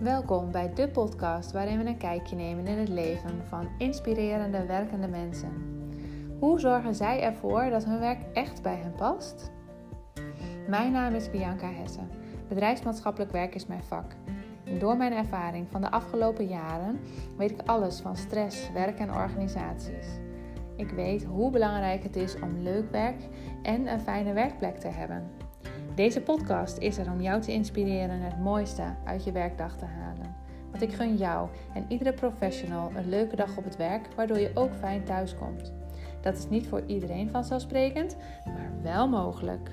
Welkom bij de podcast waarin we een kijkje nemen in het leven van inspirerende werkende mensen. Hoe zorgen zij ervoor dat hun werk echt bij hen past? Mijn naam is Bianca Hesse. Bedrijfsmaatschappelijk werk is mijn vak. En door mijn ervaring van de afgelopen jaren weet ik alles van stress, werk en organisaties. Ik weet hoe belangrijk het is om leuk werk en een fijne werkplek te hebben. Deze podcast is er om jou te inspireren het mooiste uit je werkdag te halen. Want ik gun jou en iedere professional een leuke dag op het werk, waardoor je ook fijn thuis komt. Dat is niet voor iedereen vanzelfsprekend, maar wel mogelijk.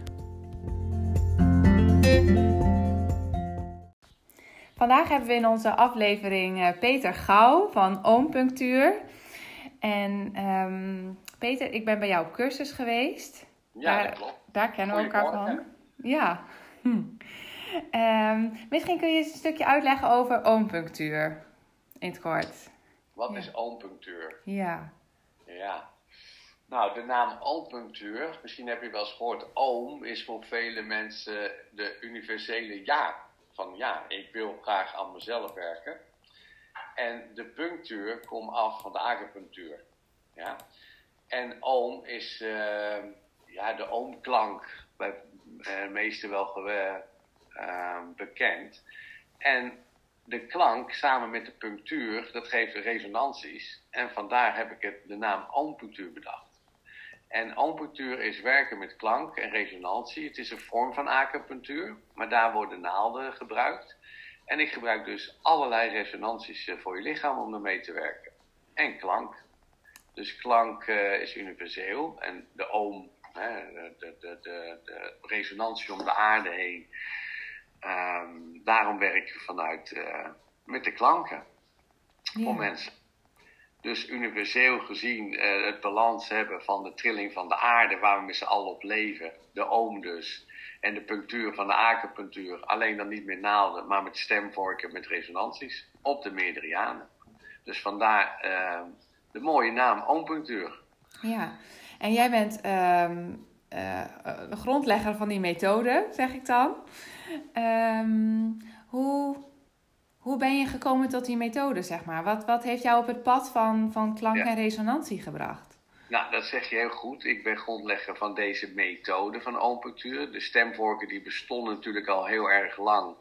Vandaag hebben we in onze aflevering eh, Peter Gauw van Oompunctuur. En ehm, Peter, ik ben bij jou op cursus geweest. Ja, Daar- dat klopt. Daar kennen we elkaar Goeiemorgen. van. Ja. Hm. Ehm, misschien kun je eens een stukje uitleggen over oompunctuur. In het kort. Wat Ja. is alpunctuur? Ja. Ja. Nou, de naam alpunctuur, misschien heb je wel eens gehoord, alm is voor vele mensen de universele ja. Van ja, ik wil graag aan mezelf werken. En de punctuur komt af van de acupunctuur. Ja. En oom is eh, ja, de oomklank, bij eh meesten wel gewe- eh, bekend. En de klank samen met de punctuur, dat geeft resonanties. En vandaar heb ik het, de naam ampunctuur bedacht. En ampunctuur is werken met klank en resonantie. Het is een vorm van acupunctuur, maar daar worden naalden gebruikt. En ik gebruik dus allerlei resonanties eh, voor je lichaam om ermee te werken. En klank. Dus klank eh, is universeel en de oom, hè, de, de, de, de resonantie om de aarde heen, Ehm, daarom werk je vanuit eh, met de klanken voor Ja. mensen. Dus universeel gezien eh, het balans hebben van de trilling van de aarde waar we met z'n allen op leven, de oom dus, en de punctuur van de acupunctuur, alleen dan niet met naalden, maar met stemvorken, met resonanties, op de meerderianen. Dus vandaar eh, de mooie naam oompunctuur. ja. En jij bent ehm, eh, eh, de grondlegger van die methode, zeg ik dan. Ehm, hoe, hoe ben je gekomen tot die methode, zeg maar? Wat, wat heeft jou op het pad van, van klank Ja. en resonantie gebracht? Nou, dat zeg je heel goed. Ik ben grondlegger van deze methode van acupunctuur. De stemvorken die bestonden natuurlijk al heel erg lang.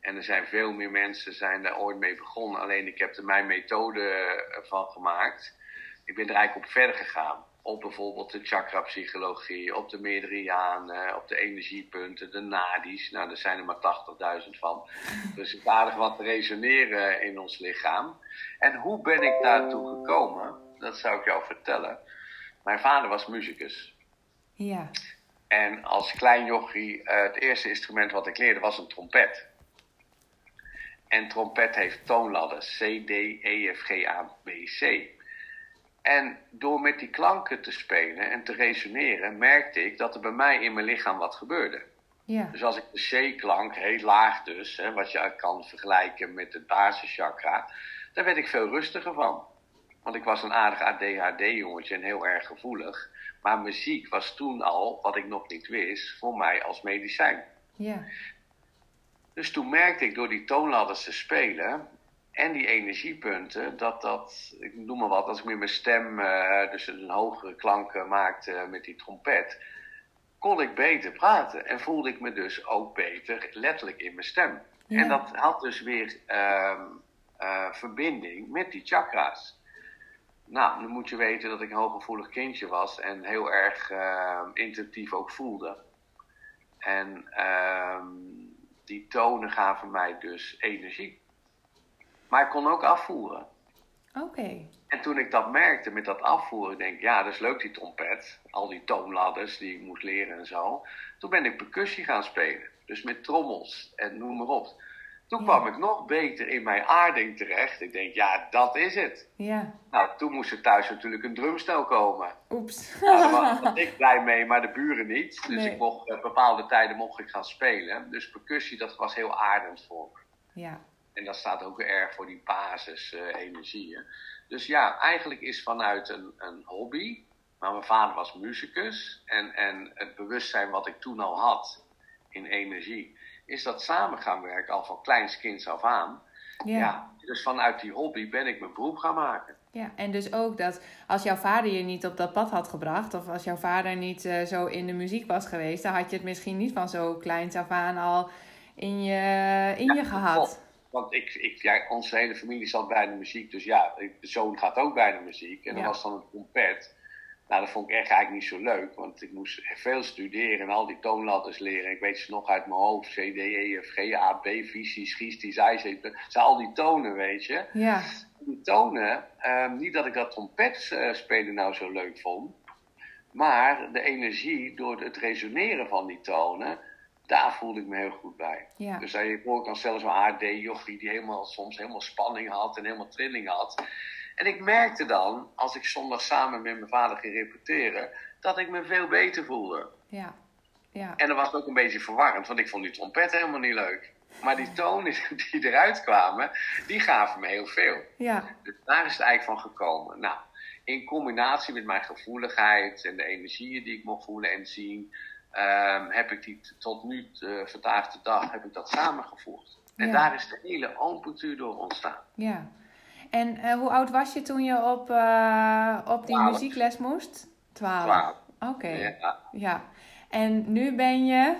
En er zijn veel meer mensen zijn daar ooit mee begonnen. Alleen ik heb er mijn methode eh, van gemaakt. Ik ben er eigenlijk op verder gegaan. Op bijvoorbeeld de chakra-psychologie, op de meridianen, op de energiepunten, de nadis. Nou, er zijn er maar 80.000 van. Dus het is aardig wat te resoneren in ons lichaam. En hoe ben ik daartoe gekomen? Dat zou ik jou vertellen. Mijn vader was muzikus. Ja. En als klein jochie, eh, het eerste instrument wat ik leerde was een trompet. En trompet heeft toonladden. C, D, E, F, G, A, B, C. En door met die klanken te spelen en te resoneren, merkte ik dat er bij mij in mijn lichaam wat gebeurde. Ja. Dus als ik de C-klank, heel laag dus, hè, wat je kan vergelijken met het basischakra, daar werd ik veel rustiger van. Want ik was een aardig ADHD-jongetje en heel erg gevoelig. Maar muziek was toen al, wat ik nog niet wist, voor mij als medicijn. Ja. Dus toen merkte ik door die toonladders te spelen en die energiepunten, dat dat, ik noem maar wat, als ik met mijn stem eh, dus een hogere klank eh, maakte met die trompet, kon ik beter praten en voelde ik me dus ook beter letterlijk in mijn stem. Ja. En dat had dus weer ehm, eh, verbinding met die chakra's. Nou, dan moet je weten dat ik een hooggevoelig kindje was en heel erg ehm, intuïtief ook voelde. En ehm, die tonen gaven mij dus energie. Maar ik kon ook afvoeren. Oké. En toen ik dat merkte met dat afvoeren, denk ik, ja, dat is leuk die trompet. Al die toonladders die ik moest leren en zo. Toen ben ik percussie gaan spelen. Dus met trommels en noem maar op. Toen Ja. kwam ik nog beter in mijn aarding terecht. Ik denk, ja, dat is het. Ja. Nou, toen moest er thuis natuurlijk een drumstel komen. Oeps. Nou, daar was- was ik blij mee, maar de buren niet. Dus Nee. ik mocht, eh, bepaalde tijden mocht ik gaan spelen. Dus percussie, dat was heel aardend voor me. Ja. En dat staat ook erg voor die basisenergieën. dus ja, eigenlijk is vanuit een, een hobby. Maar mijn vader was muzikus. En, en het bewustzijn wat ik toen al had in energie. Is dat samen gaan werken, al van kleins kind af aan. Ja. ja. Dus vanuit die hobby ben ik mijn beroep gaan maken. en dus ook dat als jouw vader je niet op dat pad had gebracht, of als jouw vader niet eh, zo in de muziek was geweest, dan had je het misschien niet van zo kleins af aan al in je, in je gehad. klopt. Want ik, ik, ja, onze hele familie zat bij de muziek. Dus ja, ik- de zoon gaat ook bij de muziek. En dat Ja. was dan een trompet. Nou, dat vond ik echt eigenlijk niet zo leuk. Want ik moest veel studeren en al die toonladders leren. Ik weet ze nog uit mijn hoofd. C, D, E, F, G, A, B, visie, schietie, zij, ze. Het zijn al die tonen, weet je. Ja, Die tonen, ehm, niet dat ik dat trompet eh, spelen nou zo leuk vond. Maar de energie door het resoneren van die tonen, daar voelde ik me heel goed bij. ja, Dus hij hoor ik dan zelfs een AD-jochie die helemaal, soms helemaal spanning had en helemaal trilling had. En ik merkte dan, als ik zondag samen met mijn vader ging repeteren, dat ik me veel beter voelde. ja, ja. En dat was ook een beetje verwarrend, want ik vond die trompet helemaal niet leuk. Maar die tonen die eruit kwamen, die gaven me heel veel. Ja, Dus daar is het eigenlijk van gekomen. Nou, in combinatie met mijn gevoeligheid en de energieën die ik mocht voelen en zien, ehm, heb ik die t- tot nu, eh, vandaag de dag, heb ik dat samengevoegd. En Ja. daar is de hele amplitude door ontstaan. ja. En eh, hoe oud was je toen je op, eh, op die Twaalf. muziekles moest? Twaalf. Twaalf. Ah, Oké, Ja, ja. En nu ben je...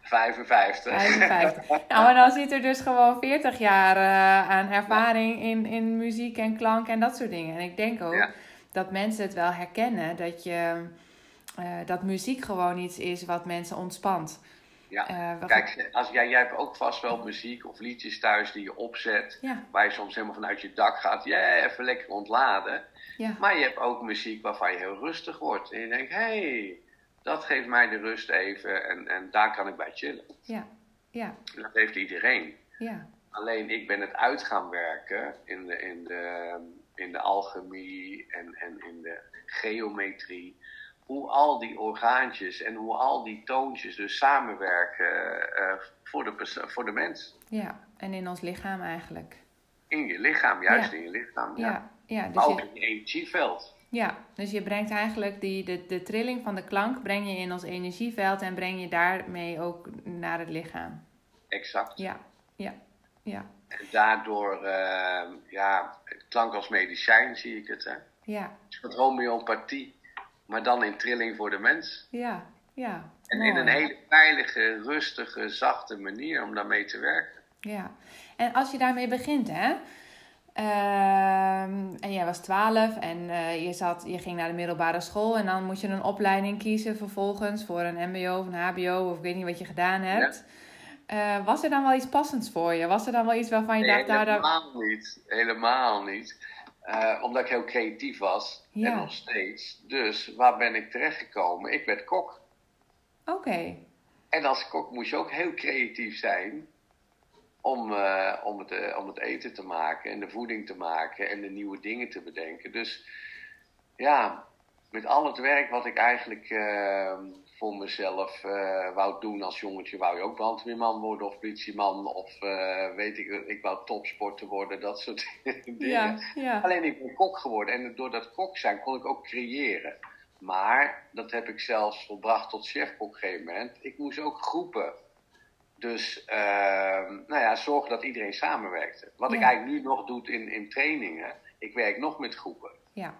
55. 55. Nou, en dan zit er dus gewoon 40 jaar eh, aan ervaring in, in muziek en klank en dat soort dingen. En ik denk ook Ja. dat mensen het wel herkennen dat, je, eh, dat muziek gewoon iets is wat mensen ontspant. Ja. Eh, wat- Kijk, als jij, jij hebt ook vast wel muziek of liedjes thuis die je opzet, Ja, waar je soms helemaal vanuit je dak gaat, ja, even lekker ontladen. ja, Maar je hebt ook muziek waarvan je heel rustig wordt. En je denkt, hé, hey, dat geeft mij de rust even en, en daar kan ik bij chillen. ja, ja, Dat heeft iedereen. ja, Alleen ik ben het uit gaan werken in de, in de, in de alchemie en, en in de geometrie. Hoe al die orgaantjes en hoe al die toontjes dus samenwerken eh, voor, de perso- voor de mens. ja. En in ons lichaam eigenlijk. In je lichaam, juist Ja. in je lichaam. Ja. Ja, ja. Dus Maar ook je, in je energieveld. ja, dus je brengt eigenlijk die, de, de trilling van de klank breng je in ons energieveld en breng je daarmee ook naar het lichaam. Exact. Ja, ja, ja, En daardoor, eh, ja, klank als medicijn zie ik het. Hè? Een ja. soort homeopathie, maar dan in trilling voor de mens. Ja, ja. En in mooi. een hele veilige, rustige, zachte manier om daarmee te werken. Ja. En als je daarmee begint, hè? Ehm, en jij was 12 en eh, je, zat, je ging naar de middelbare school en dan moet je een opleiding kiezen vervolgens voor een MBO of een HBO of ik weet niet wat je gedaan hebt. Eh, was er dan wel iets passends voor je? Was er dan wel iets waarvan je Nee, dacht, nou, daar, daar... helemaal niet. Helemaal niet. Eh, omdat ik heel creatief was. Ja. En nog steeds. Dus waar ben ik terechtgekomen? Ik werd kok. Oké, En als kok moest je ook heel creatief zijn om, eh, om, het, eh, om het eten te maken en de voeding te maken en de nieuwe dingen te bedenken. Dus ja, met al het werk wat ik eigenlijk eh, voor mezelf eh, wou doen als jongetje, wou je ook brandweerman worden of politieman of eh, weet ik, ik wou topsporter worden, dat soort dingen. ja, ja, Alleen ik ben kok geworden en door dat kok zijn kon ik ook creëren. Maar dat heb ik zelfs volbracht tot chef op een gegeven moment. Ik moest ook groepen. Dus ehm, nou ja, zorgen dat iedereen samenwerkte. Wat ik Ja. eigenlijk nu nog doe in, in trainingen, ik werk nog met groepen. ja,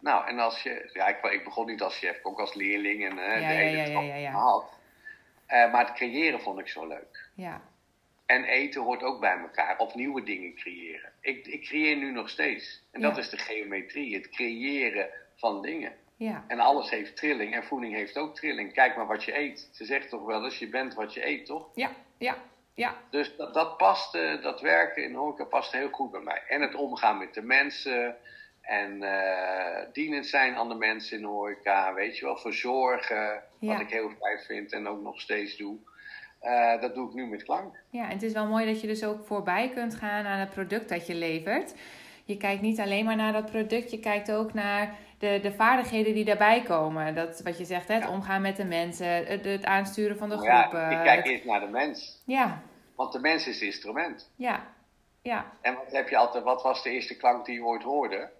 Nou, en als je, ja, ik, ik begon niet als chef, ik ook als leerling en eh, Ja, de ja, hele ja, ja, trap ja, ja. gehad. Eh, maar het creëren vond ik zo leuk. ja, En eten hoort ook bij elkaar. Of nieuwe dingen creëren. Ik, ik creëer nu nog steeds. En dat Ja. is de geometrie. Het creëren van dingen. ja, En alles heeft trilling. En voeding heeft ook trilling. Kijk maar wat je eet. Ze zegt toch wel eens, je bent wat je eet, toch? ja, ja, ja, Dus dat, dat past, eh, dat werken in de horeca past heel goed bij mij. En het omgaan met de mensen. En eh, dienend zijn aan de mensen in de horeca. Weet je wel, verzorgen. Ja. Wat ik heel fijn vind en ook nog steeds doe. Eh, dat doe ik nu met klank. Ja, en het is wel mooi dat je dus ook voorbij kunt gaan aan het product dat je levert. Je kijkt niet alleen maar naar dat product, je kijkt ook naar de, de vaardigheden die daarbij komen. Dat wat je zegt, hè, het Ja. omgaan met de mensen, het, het aansturen van de Maar ja, groepen. ik kijk het- eerst naar de mens. ja, Want de mens is het instrument. ja, ja. En wat, heb je altijd, wat was de eerste klank die je ooit hoorde?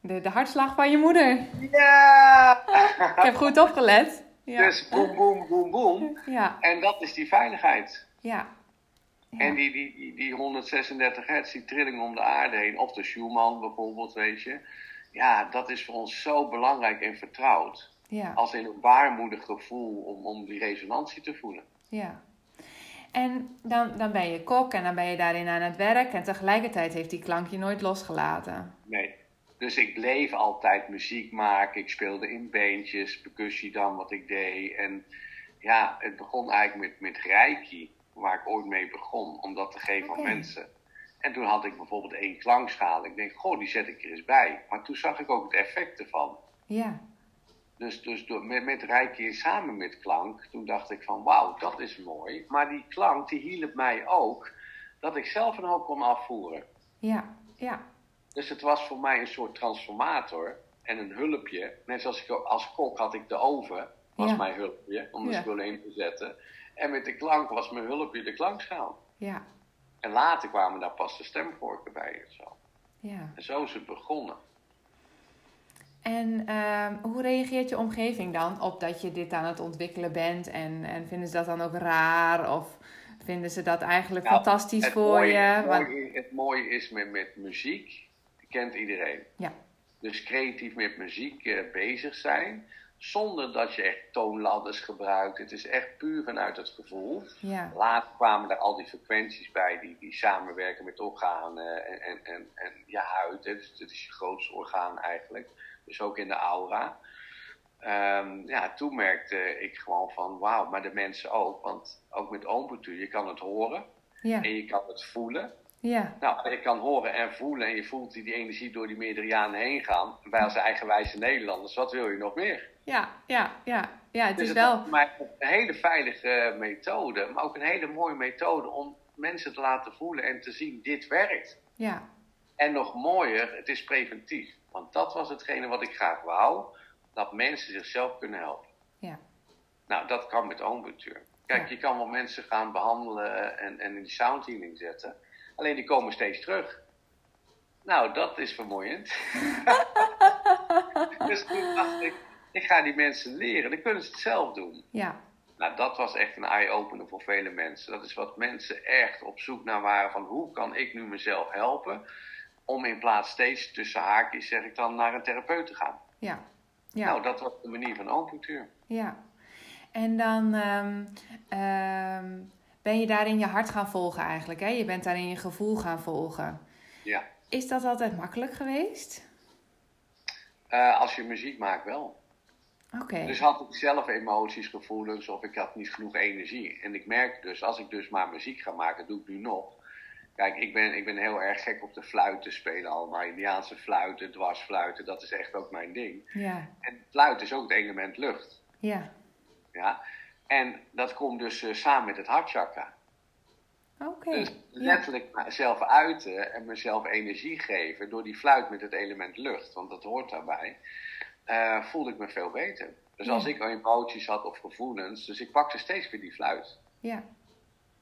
De, de hartslag van je moeder. Ja! Ik heb goed opgelet. Ja, Dus boem, boem, boem, boem. ja, En dat is die veiligheid. ja, Ja. En die, die, die, die 136 hertz, die trilling om de aarde heen, of de Schumann bijvoorbeeld, weet je. Ja, dat is voor ons zo belangrijk en vertrouwd. ja, Als in een waarmoedig gevoel om, om die resonantie te voelen. ja. En dan, dan ben je kok en dan ben je daarin aan het werk. En tegelijkertijd heeft die klank je nooit losgelaten. Nee. Dus ik bleef altijd muziek maken. Ik speelde in beentjes, percussie dan wat ik deed. En ja, het begon eigenlijk met, met reiki, waar ik ooit mee begon, om dat te geven aan Oké. mensen. En toen had ik bijvoorbeeld één klankschaal. Ik denk, goh, die zet ik er eens bij. Maar toen zag ik ook het effect ervan. Ja, Dus, dus door, met, met reiki en samen met klank, toen dacht ik van, wauw, dat is mooi. Maar die klank, die hielp mij ook, dat ik zelf een hoop kon afvoeren. ja, ja. Dus het was voor mij een soort transformator en een hulpje. Net zoals ik als kok had ik de oven, was Ja. mijn hulpje om de Ja. spullen in te zetten. En met de klank was mijn hulpje de klankschaal. Ja, En later kwamen daar pas de stemvorken bij en zo. ja. En zo is het begonnen. En ehm, hoe reageert je omgeving dan op dat je dit aan het ontwikkelen bent? En, en vinden ze dat dan ook raar? Of vinden ze dat eigenlijk Nou, fantastisch Het voor mooie, je? het, Want- mooie, het mooie is met, met muziek, die kent iedereen. Ja, Dus creatief met muziek eh, bezig zijn, zonder dat je echt toonladders gebruikt. Het is echt puur vanuit het gevoel. ja, Later kwamen er al die frequenties bij die, die samenwerken met organen en, en, en, en je huid. Hè. Dus dat is je grootste orgaan eigenlijk. Dus ook in de aura. Ehm, ja, toen merkte ik gewoon van wauw, maar de mensen ook. Want ook met oompatuur, je kan het horen ja, en je kan het voelen. ja, Nou, je kan horen en voelen en je voelt die, die energie door die meerdere jaren heen gaan. Wij als eigenwijze Nederlanders, wat wil je nog meer? ja, ja, ja. Ja, het Dus is het wel... voor mij een hele veilige eh, methode, maar ook een hele mooie methode om mensen te laten voelen en te zien, dit werkt. Ja, En nog mooier, het is preventief. Want dat was hetgene wat ik graag wou, dat mensen zichzelf kunnen helpen. ja, Nou, dat kan met oombatuur. Kijk, Ja. je kan wel mensen gaan behandelen en, en in die sound healing zetten. Alleen die komen steeds terug. Nou, dat is vermoeiend. dus toen dacht ik, ik ga die mensen leren. Dan kunnen ze het zelf doen. ja, Nou, dat was echt een eye-opener voor vele mensen. Dat is wat mensen echt op zoek naar waren van hoe kan ik nu mezelf helpen om in plaats steeds tussen haakjes, zeg ik dan, naar een therapeut te gaan. ja, ja. Nou, dat was de manier van acupunctuur. Ja. En dan ehm, ehm, ben je daarin je hart gaan volgen eigenlijk. Hè? Je bent daarin je gevoel gaan volgen. Ja. Is dat altijd makkelijk geweest? Eh, als je muziek maakt wel. Oké. Dus had ik zelf emoties, gevoelens of ik had niet genoeg energie. En ik merkte dus, als ik dus maar muziek ga maken, doe ik nu nog. Kijk, ik ben, ik ben heel erg gek op de fluiten spelen allemaal. Indiaanse fluiten, dwarsfluiten, dat is echt ook mijn ding. Ja, En fluit is ook het element lucht. ja. Ja? En dat komt dus eh, samen met het hartchakra. Oké. Dus Oh, Ja. letterlijk mezelf uiten en mezelf energie geven door die fluit met het element lucht, want dat hoort daarbij, eh, voelde ik me veel beter. Dus Ja. als ik emoties had of gevoelens, dus ik pakte steeds weer die fluit. ja,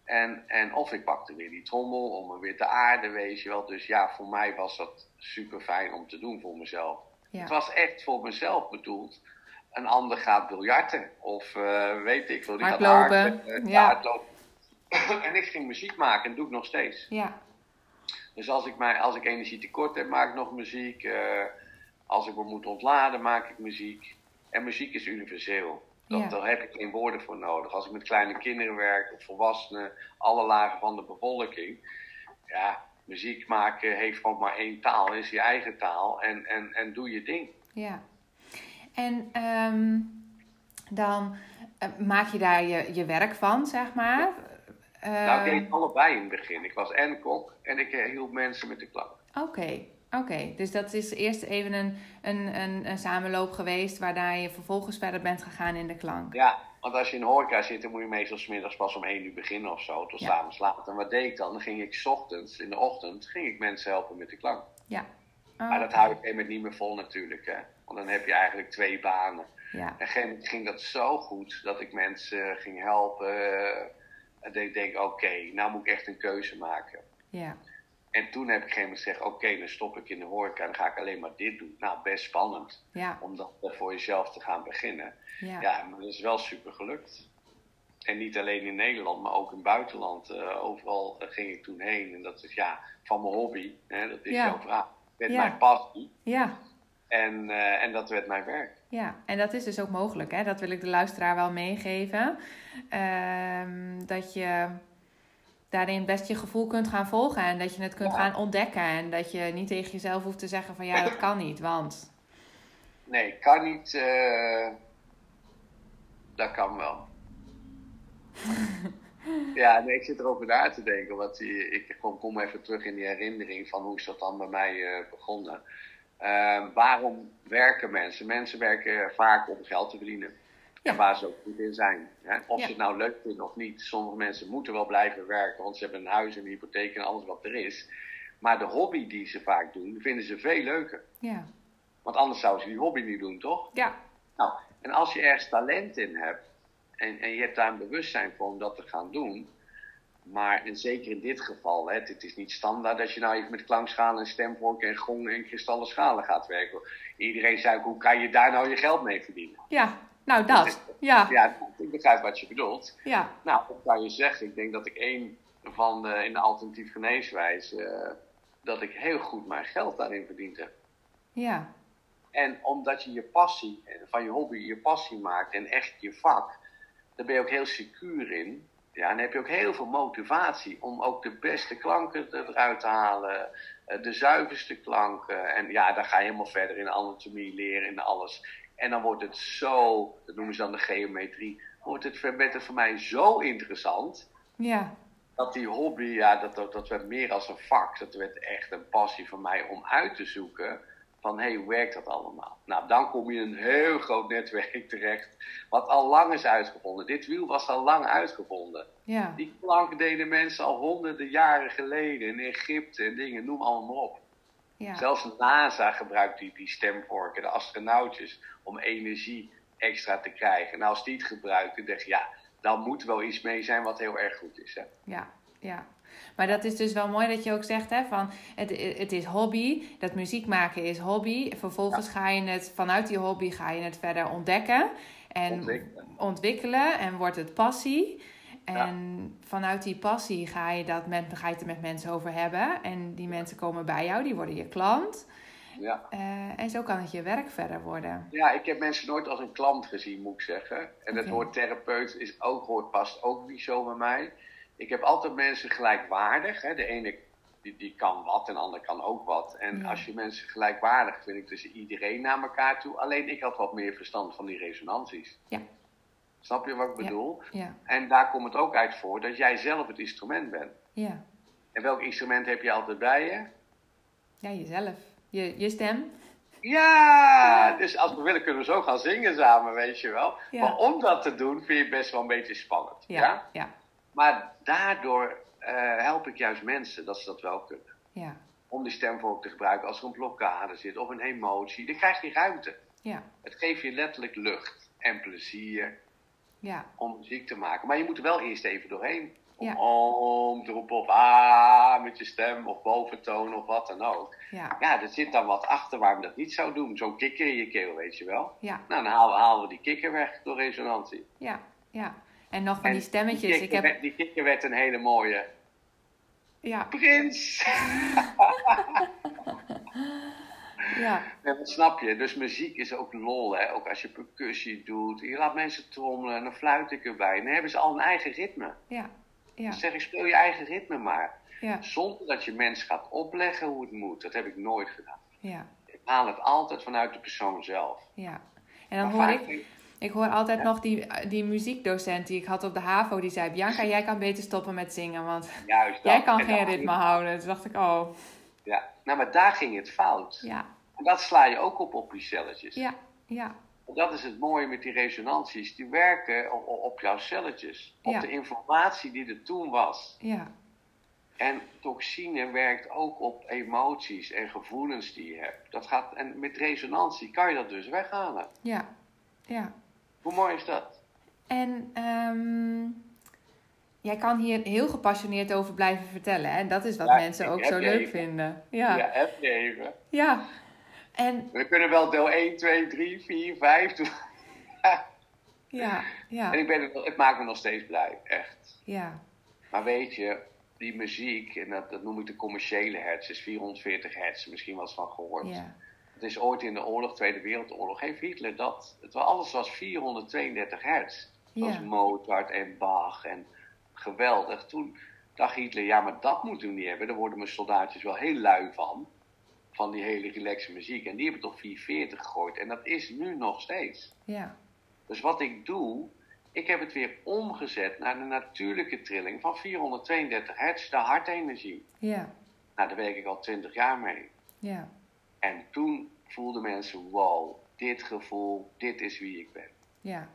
En, en of ik pakte weer die trommel om me weer te aarden, weet je wel. Dus ja, voor mij was dat super fijn om te doen voor mezelf. Het ja. was echt voor mezelf bedoeld. Een ander gaat biljarten of eh, weet ik veel. Die gaat Hardlopen, hardlopen. eh, ja. hardlopen. en ik ging muziek maken en dat doe ik nog steeds. Ja, Dus als ik, mij, als ik energie tekort heb, maak ik nog muziek. Eh, als ik me moet ontladen, maak ik muziek. En muziek is universeel. Dat, Ja. Daar heb ik geen woorden voor nodig. Als ik met kleine kinderen werk, of volwassenen, alle lagen van de bevolking. Ja, muziek maken heeft gewoon maar één taal, is je eigen taal. En, en, en doe je ding. ja. En ehm, dan eh, maak je daar je, je werk van, zeg maar. Nou, ik Ehm, deed allebei in het begin. Ik was en kok en ik eh, hielp mensen met de klank. Oké, oké. Dus dat is eerst even een, een, een, een samenloop geweest, waarna je vervolgens verder bent gegaan in de klank. Ja, want als je in een horeca zit, dan moet je meestal 's middags pas om 1 uur beginnen of zo, tot Ja. s'avonds laat. En wat deed ik dan? Dan ging ik 's ochtends, in de ochtend, ging ik mensen helpen met de klank. Ja. Oh. Maar dat hou ik op een gegeven moment niet meer vol natuurlijk, hè. Want dan heb je eigenlijk twee banen. Ja, En op een gegeven moment ging dat zo goed, dat ik mensen eh, ging helpen. eh, En ik denk, oké, nou moet ik echt een keuze maken. ja, En toen heb ik op een gegeven moment gezegd, oké, dan stop ik in de horeca en dan ga ik alleen maar dit doen. Nou, best spannend. ja, om dat voor jezelf te gaan beginnen. ja. Ja, maar dat is wel super gelukt. En niet alleen in Nederland, maar ook in het buitenland. eh, overal eh, ging ik toen heen. En dat is ja, van mijn hobby. Hè, dat is Ja. jouw vraag. Werd Ja. mijn passie. Ja, En, eh, en dat werd mijn werk. ja. En dat is dus ook mogelijk, hè? Dat wil ik de luisteraar wel meegeven. Ehm, dat je daarin best je gevoel kunt gaan volgen en dat je het kunt Ja. gaan ontdekken. En dat je niet tegen jezelf hoeft te zeggen van ja, dat kan niet, want... Nee, ik kan niet. eh, dat kan wel. ja, nee, ik zit erover na te denken. Want die- ik kom, kom even terug in die herinnering van hoe is dat dan bij mij eh, begonnen. Eh, waarom werken mensen? Mensen werken vaak om geld te verdienen. Ja. En waar ze ook goed in zijn. Hè? Of Ja. ze het nou leuk vinden of niet. Sommige mensen moeten wel blijven werken, want ze hebben een huis en een hypotheek en alles wat er is. Maar de hobby die ze vaak doen, vinden ze veel leuker. Ja, Want anders zouden ze die hobby niet doen, toch? ja, Nou, en als je ergens talent in hebt en, en je hebt daar een bewustzijn voor om dat te gaan doen. Maar en zeker in dit geval, hè, het is niet standaard dat je nou even met klankschalen en stemvorken en gong en kristallen schalen gaat werken. Iedereen zei ook, hoe kan je daar nou je geld mee verdienen? ja. Nou, dat. Ja, Ja, ik begrijp wat je bedoelt. ja. Nou, ik zou je zeggen, ik denk dat ik één van de, in de alternatief geneeswijze, eh, dat ik heel goed mijn geld daarin verdiend heb. Ja, En omdat je je passie, eh, van je hobby je passie maakt en echt je vak, daar ben je ook heel secuur in. Ja, en dan heb je ook heel veel motivatie om ook de beste klanken er- eruit te halen, eh, de zuiverste klanken. En ja, dan ga je helemaal verder in anatomie leren en alles. En dan wordt het zo, dat noemen ze dan de geometrie, wordt het ver- werd het voor mij zo interessant. ja, Dat die hobby, ja, dat, dat, dat werd meer als een vak. Dat werd echt een passie van mij om uit te zoeken van, hé, hoe werkt dat allemaal? Nou, dan kom je in een heel groot netwerk terecht, wat al lang is uitgevonden. Dit wiel was al lang uitgevonden. ja, Die klank deden mensen al honderden jaren geleden in Egypte en dingen, noem allemaal maar op. ja, Zelfs NASA gebruikt die, die stemvorken, de astronautjes, om energie extra te krijgen. Nou, als die het gebruiken, denk je, ja, dan moet wel iets mee zijn wat heel erg goed is, hè. ja, ja. Maar dat is dus wel mooi dat je ook zegt hè, van het, het is hobby, dat muziek maken is hobby. Vervolgens ga je het vanuit die hobby ga je het verder ontdekken en Ontwikkelen. ontwikkelen en wordt het passie. En vanuit die passie ga je, dat met, ga je het er met mensen over hebben. En die mensen komen bij jou, die worden je klant. Ja. Eh, en zo kan het je werk verder worden. Ja, ik heb mensen nooit als een klant gezien, moet ik zeggen. En dat Oké. woord therapeut is ook, hoort, past ook niet zo bij mij. Ik heb altijd mensen gelijkwaardig. Hè. De ene die, die kan wat en de ander kan ook wat. En Ja. als je mensen gelijkwaardig vind ik tussen iedereen naar elkaar toe. Alleen ik had wat meer verstand van die resonanties. Ja. Snap je wat ik Ja. bedoel? Ja, En daar komt het ook uit voor dat jij zelf het instrument bent. ja. En welk instrument heb je altijd bij je? ja jezelf. Je, je stem. Ja, dus als we willen kunnen we zo gaan zingen samen, weet je wel. Ja. Maar om dat te doen vind je best wel een beetje spannend. Ja. Ja, ja, Maar daardoor eh, help ik juist mensen dat ze dat wel kunnen. ja, Om die stemvorm te gebruiken als er een blokkade zit of een emotie. Dan krijg je ruimte. ja, Het geeft je letterlijk lucht en plezier ja, om muziek te maken. Maar je moet er wel eerst even doorheen. Om Ja. om te roepen of ah met je stem of boventoon of wat dan ook. ja, Ja, er zit dan wat achter waarom je dat niet zou doen. Zo'n kikker in je keel, weet je wel. ja, Nou, dan halen we, halen we die kikker weg door resonantie. ja, ja. En nog van Oh, die En stemmetjes. kikker Ik heb, werd- die kikker werd een hele mooie ja, prins. ja, Ja, dat snap je. Dus muziek is ook lol, hè. Ook als je percussie doet. Je laat mensen trommelen en dan fluit ik erbij. Dan hebben ze al een eigen ritme. ja, ja, Dan zeg ik, speel je eigen ritme maar. ja, Zonder dat je mensen gaat opleggen hoe het moet. Dat heb ik nooit gedaan. ja, Ik haal het altijd vanuit de persoon zelf. ja. En dan Maar hoor vaak ik, denk ik hoor altijd nog die, die muziekdocent die ik had op de HAVO. Die zei, Bianca, jij kan beter stoppen met zingen, want juist jij dat. kan En geen dan- ritme houden. Toen dacht ik, oh, Ja. Nou, maar daar ging het fout. ja, En dat sla je ook op op die celletjes. ja, ja, Dat is het mooie met die resonanties. Die werken op, op jouw celletjes. Op Ja. de informatie die er toen was. ja, En toxine werkt ook op emoties en gevoelens die je hebt. Dat gaat, en met resonantie kan je dat dus weghalen. ja, ja. Hoe mooi is dat? En ehm, jij kan hier heel gepassioneerd over blijven vertellen. hè? En dat is wat Ja, mensen ik ook heb zo je leuk even. vinden. Ja, ja. even even. En We kunnen wel deel 1, 2, 3, 4, 5 doen. Ja, En ja, ik ben er, nog- het maakt me nog steeds blij, echt. ja. Maar weet je, die muziek, en dat, dat noem ik de commerciële hertz, is 440 hertz, misschien wel eens van gehoord. Ja, Het is ooit in de oorlog, Tweede Wereldoorlog, heeft Hitler dat. Het, wa- alles was 432 hertz. Dat was Ja. Mozart en Bach en geweldig. Toen dacht Hitler, ja, maar dat moeten we niet hebben. Daar worden mijn soldaatjes wel heel lui van. Van die hele relaxe muziek. En die hebben toch 440 gegooid. En dat is nu nog steeds. ja, Dus wat ik doe, ik heb het weer omgezet naar de natuurlijke trilling van 432 hertz, de hartenergie. ja, Nou, daar werk ik al 20 jaar mee. ja, En toen voelden mensen, wow, dit gevoel, dit is wie ik ben. ja.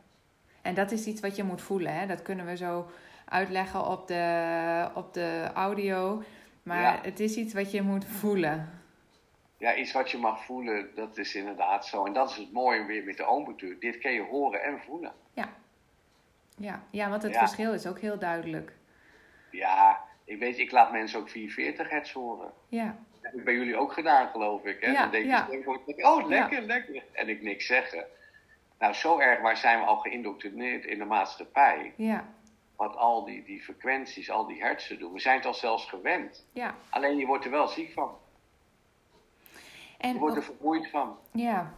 En dat is iets wat je moet voelen, hè? Dat kunnen we zo uitleggen op de, op de audio. Maar Ja. het is iets wat je moet voelen. Ja, iets wat je mag voelen, dat is inderdaad zo. En dat is het mooie weer met de oombetuur. Dit kun je horen en voelen. Ja, ja, ja want het Ja. verschil is ook heel duidelijk. Ja, ik weet, ik laat mensen ook 440 hertz horen. Ja, Dat heb ik bij jullie ook gedaan, geloof ik. Hè? Ja, dan deed je ja. stem voor- denk ik, oh, lekker, lekker. En ik niks zeggen. Nou, zo erg waar zijn we al geïndoctrineerd in de maatschappij. ja, Wat al die, die frequenties, al die hertzen doen. We zijn het al zelfs gewend. ja. Alleen je wordt er wel ziek van. Je En wordt er vermoeid van. Ja.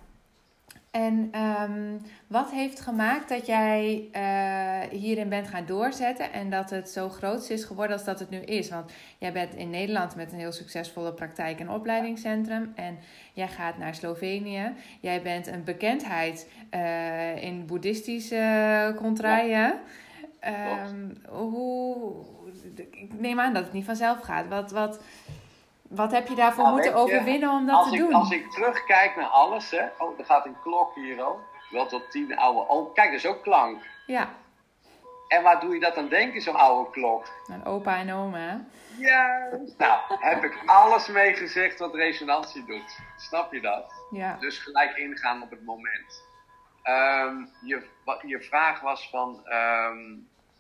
En ehm, wat heeft gemaakt dat jij eh, hierin bent gaan doorzetten en dat het zo groot is geworden als dat het nu is? Want jij bent in Nederland met een heel succesvolle praktijk- en opleidingscentrum en jij gaat naar Slovenië. Jij bent een bekendheid eh, in boeddhistische eh, contraien. Ehm, hoe, ik neem aan dat het niet vanzelf gaat. Wat, wat, wat heb je daarvoor Nou, moeten weet je, overwinnen om dat als te ik, doen? Als ik terugkijk naar alles, hè. Oh, er gaat een klok hier al. Wel tot tien oude. Oh, kijk, dat is ook klank. Ja. En waar doe je dat aan denken, zo'n oude klok? Een opa en oma. hè? Juist. Nou, heb ik alles mee gezegd wat resonantie doet. Snap je dat? Ja, Dus gelijk ingaan op het moment. Ehm, je, wa- je vraag was van, ehm,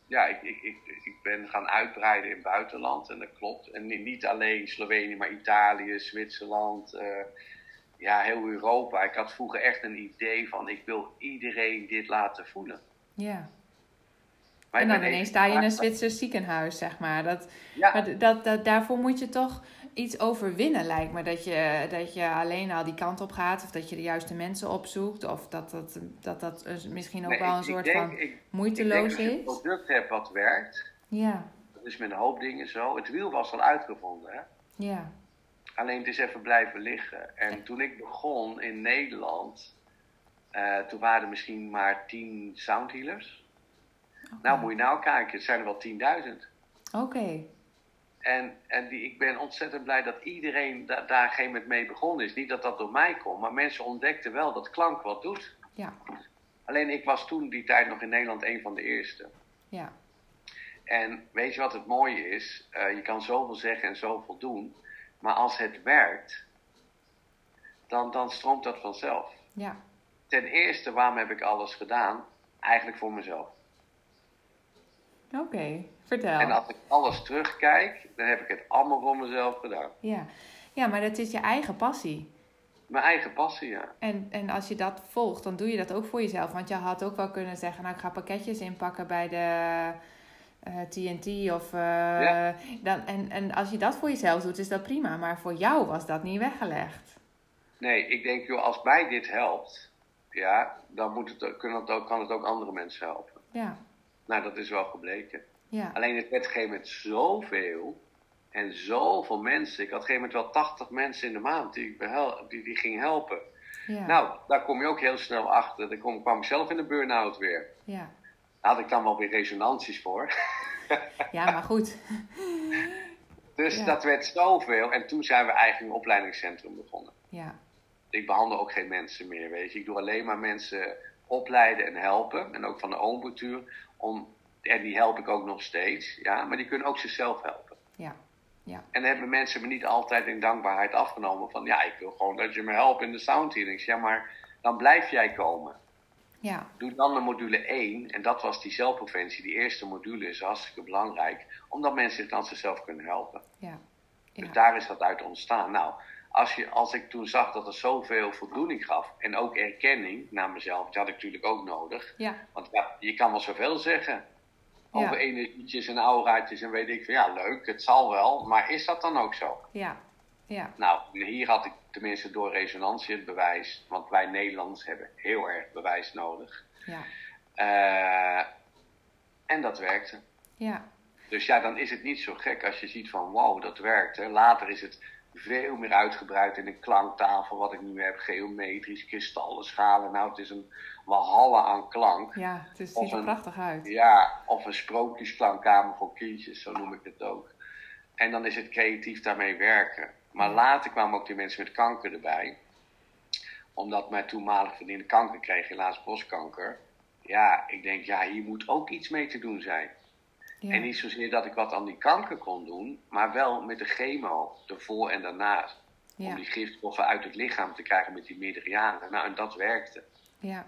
ja, ik, ik, ik, ik ben gaan uitbreiden in het buitenland en dat klopt. En ni- niet alleen Slovenië, maar Italië, Zwitserland, eh, ja, heel Europa. Ik had vroeger echt een idee van, ik wil iedereen dit laten voelen. ja. Maar en ik dan ben ineens even- sta je in een Zwitsers ziekenhuis, zeg maar. Dat, Ja. maar d- dat, dat, daarvoor moet je toch iets overwinnen, lijkt me. Dat je, dat je alleen al die kant op gaat, of dat je de juiste mensen opzoekt, of dat dat, dat, dat eh, misschien ook Nee, wel een ik- ik soort denk- van ik- ik moeiteloos ik is. denk dat je een product hebt wat werkt, Ja, dat is met een hoop dingen zo. Het wiel was al uitgevonden, hè? ja, Alleen het is even blijven liggen. En toen ik begon in Nederland, eh, toen waren er misschien maar 10 soundhealers. Nou, moet je nou kijken, het zijn er wel 10.000. oké. En, en die, ik ben ontzettend blij dat iedereen da- daar geen moment mee begonnen is. Niet dat dat door mij komt, maar mensen ontdekten wel dat klank wat doet. Ja, Alleen ik was toen die tijd nog in Nederland een van de eerste. ja, En weet je wat het mooie is? Eh, je kan zoveel zeggen en zoveel doen, maar als het werkt, dan, dan stroomt dat vanzelf. ja, Ten eerste, waarom heb ik alles gedaan? Eigenlijk voor mezelf. oké. Vertel. En als ik alles terugkijk, dan heb ik het allemaal voor mezelf gedaan. ja. ja, maar dat is je eigen passie. Mijn eigen passie, ja. En, en als je dat volgt, dan doe je dat ook voor jezelf. Want je had ook wel kunnen zeggen, nou ik ga pakketjes inpakken bij de eh, TNT of... eh, Ja. dan, en, en als je dat voor jezelf doet, is dat prima. Maar voor jou was dat niet weggelegd. Nee, ik denk, joh, als mij dit helpt, ja, dan moet het, ook- kunnen het ook, kan het ook andere mensen helpen. Ja, Nou, dat is wel gebleken. ja, Alleen het werd op een gegeven moment zoveel en zoveel mensen. Ik had op een gegeven moment wel 80 mensen in de maand die ik behel- die, die ging helpen. ja, Nou, daar kom je ook heel snel achter. Daar kom, kwam ik zelf in de burn-out weer. ja. Daar had ik dan wel weer resonanties voor. Ja, maar goed. Dus Ja. dat werd zoveel. En toen zijn we eigenlijk een opleidingscentrum begonnen. Ja, Ik behandel ook geen mensen meer, weet je. Ik doe alleen maar mensen opleiden en helpen. En ook van de oombetuur. Om, en die help ik ook nog steeds. Ja, maar die kunnen ook zichzelf helpen. ja, ja, En dan hebben mensen me niet altijd in dankbaarheid afgenomen. Van ja, ik wil gewoon dat je me helpt in de sound healings. Ja, maar dan blijf jij komen. ja, Doe dan de module 1. En dat was die zelfpreventie. Die eerste module is hartstikke belangrijk. Omdat mensen dan zichzelf kunnen helpen. ja, Dus ja, daar is dat uit ontstaan. Nou, als, je, als ik toen zag dat het zoveel voldoening gaf en ook erkenning naar mezelf, die had ik natuurlijk ook nodig. Ja, Want ja, je kan wel zoveel zeggen Ja. over energietjes en auraatjes en weet ik veel. Ja, leuk, het zal wel, maar is dat dan ook zo? ja, ja, Nou, hier had ik tenminste door resonantie het bewijs, want wij Nederlanders hebben heel erg bewijs nodig. ja, Eh, en dat werkte. ja, Dus ja, dan is het niet zo gek als je ziet van wow, dat werkt. Hè. Later is het veel meer uitgebreid in de klanktafel, wat ik nu heb, geometrisch, kristallen, schalen. Nou, het is een walhalla aan klank. ja. Het is- Of ziet er een- prachtig uit. Ja, of een sprookjesklankkamer voor kindjes, zo noem ik het ook. En dan is het creatief daarmee werken. Maar later kwamen ook die mensen met kanker erbij. Omdat mijn toenmalig vriendin kanker kreeg, helaas borstkanker. Ja, ik denk, ja, hier moet ook iets mee te doen zijn. En Ja, niet zozeer dat ik wat aan die kanker kon doen, maar wel met de chemo, ervoor en daarna. Om ja, die gifstoffen uit het lichaam te krijgen met die meerdere jaren. Nou, en dat werkte. ja,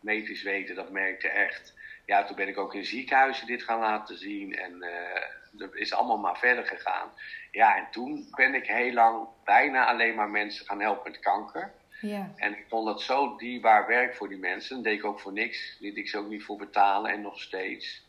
Medisch weten, dat merkte echt. Ja, toen ben ik ook in ziekenhuizen dit gaan laten zien. En eh dat is allemaal maar verder gegaan. Ja, en toen ben ik heel lang bijna alleen maar mensen gaan helpen met kanker. ja, En ik vond dat zo dierbaar werk voor die mensen. Dat deed ik ook voor niks. Liet ik ze ook niet voor betalen en nog steeds.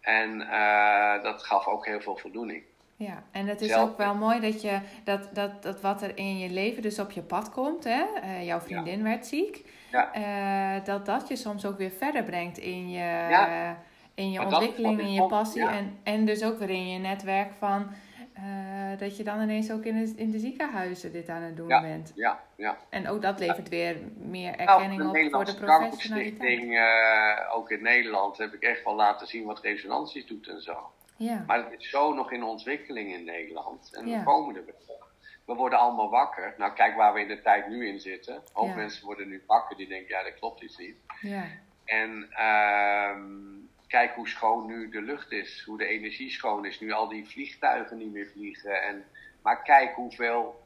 En eh, dat gaf ook heel veel voldoening. ja. En het is Zelf- ook wel mooi dat, je, dat, dat, dat wat er in je leven dus op je pad komt, hè? eh, jouw vriendin werd ziek, Ja. eh, dat dat je soms ook weer verder brengt in je, Ja. in je Maar dat is ontwikkeling, wat ik in je vond, passie ja. en, en dus ook weer in je netwerk van eh, dat je dan ineens ook in de, in de ziekenhuizen dit aan het doen Ja. bent. Ja, ja. En ook dat levert weer meer Nou, erkenning de op voor de Nederlandse professionaliteit. Kankerstichting, eh, ook in Nederland, heb ik echt wel laten zien wat resonanties doet en zo. Ja, Maar het is zo nog in ontwikkeling in Nederland. En Ja. we komen er wel. We worden allemaal wakker. Nou, kijk waar we in de tijd nu in zitten. Een hoop Ja. mensen worden nu wakker die denken, ja, dat klopt iets niet. ja, En ehm, kijk hoe schoon nu de lucht is, hoe de energie schoon is. Nu al die vliegtuigen niet meer vliegen. En, maar kijk hoeveel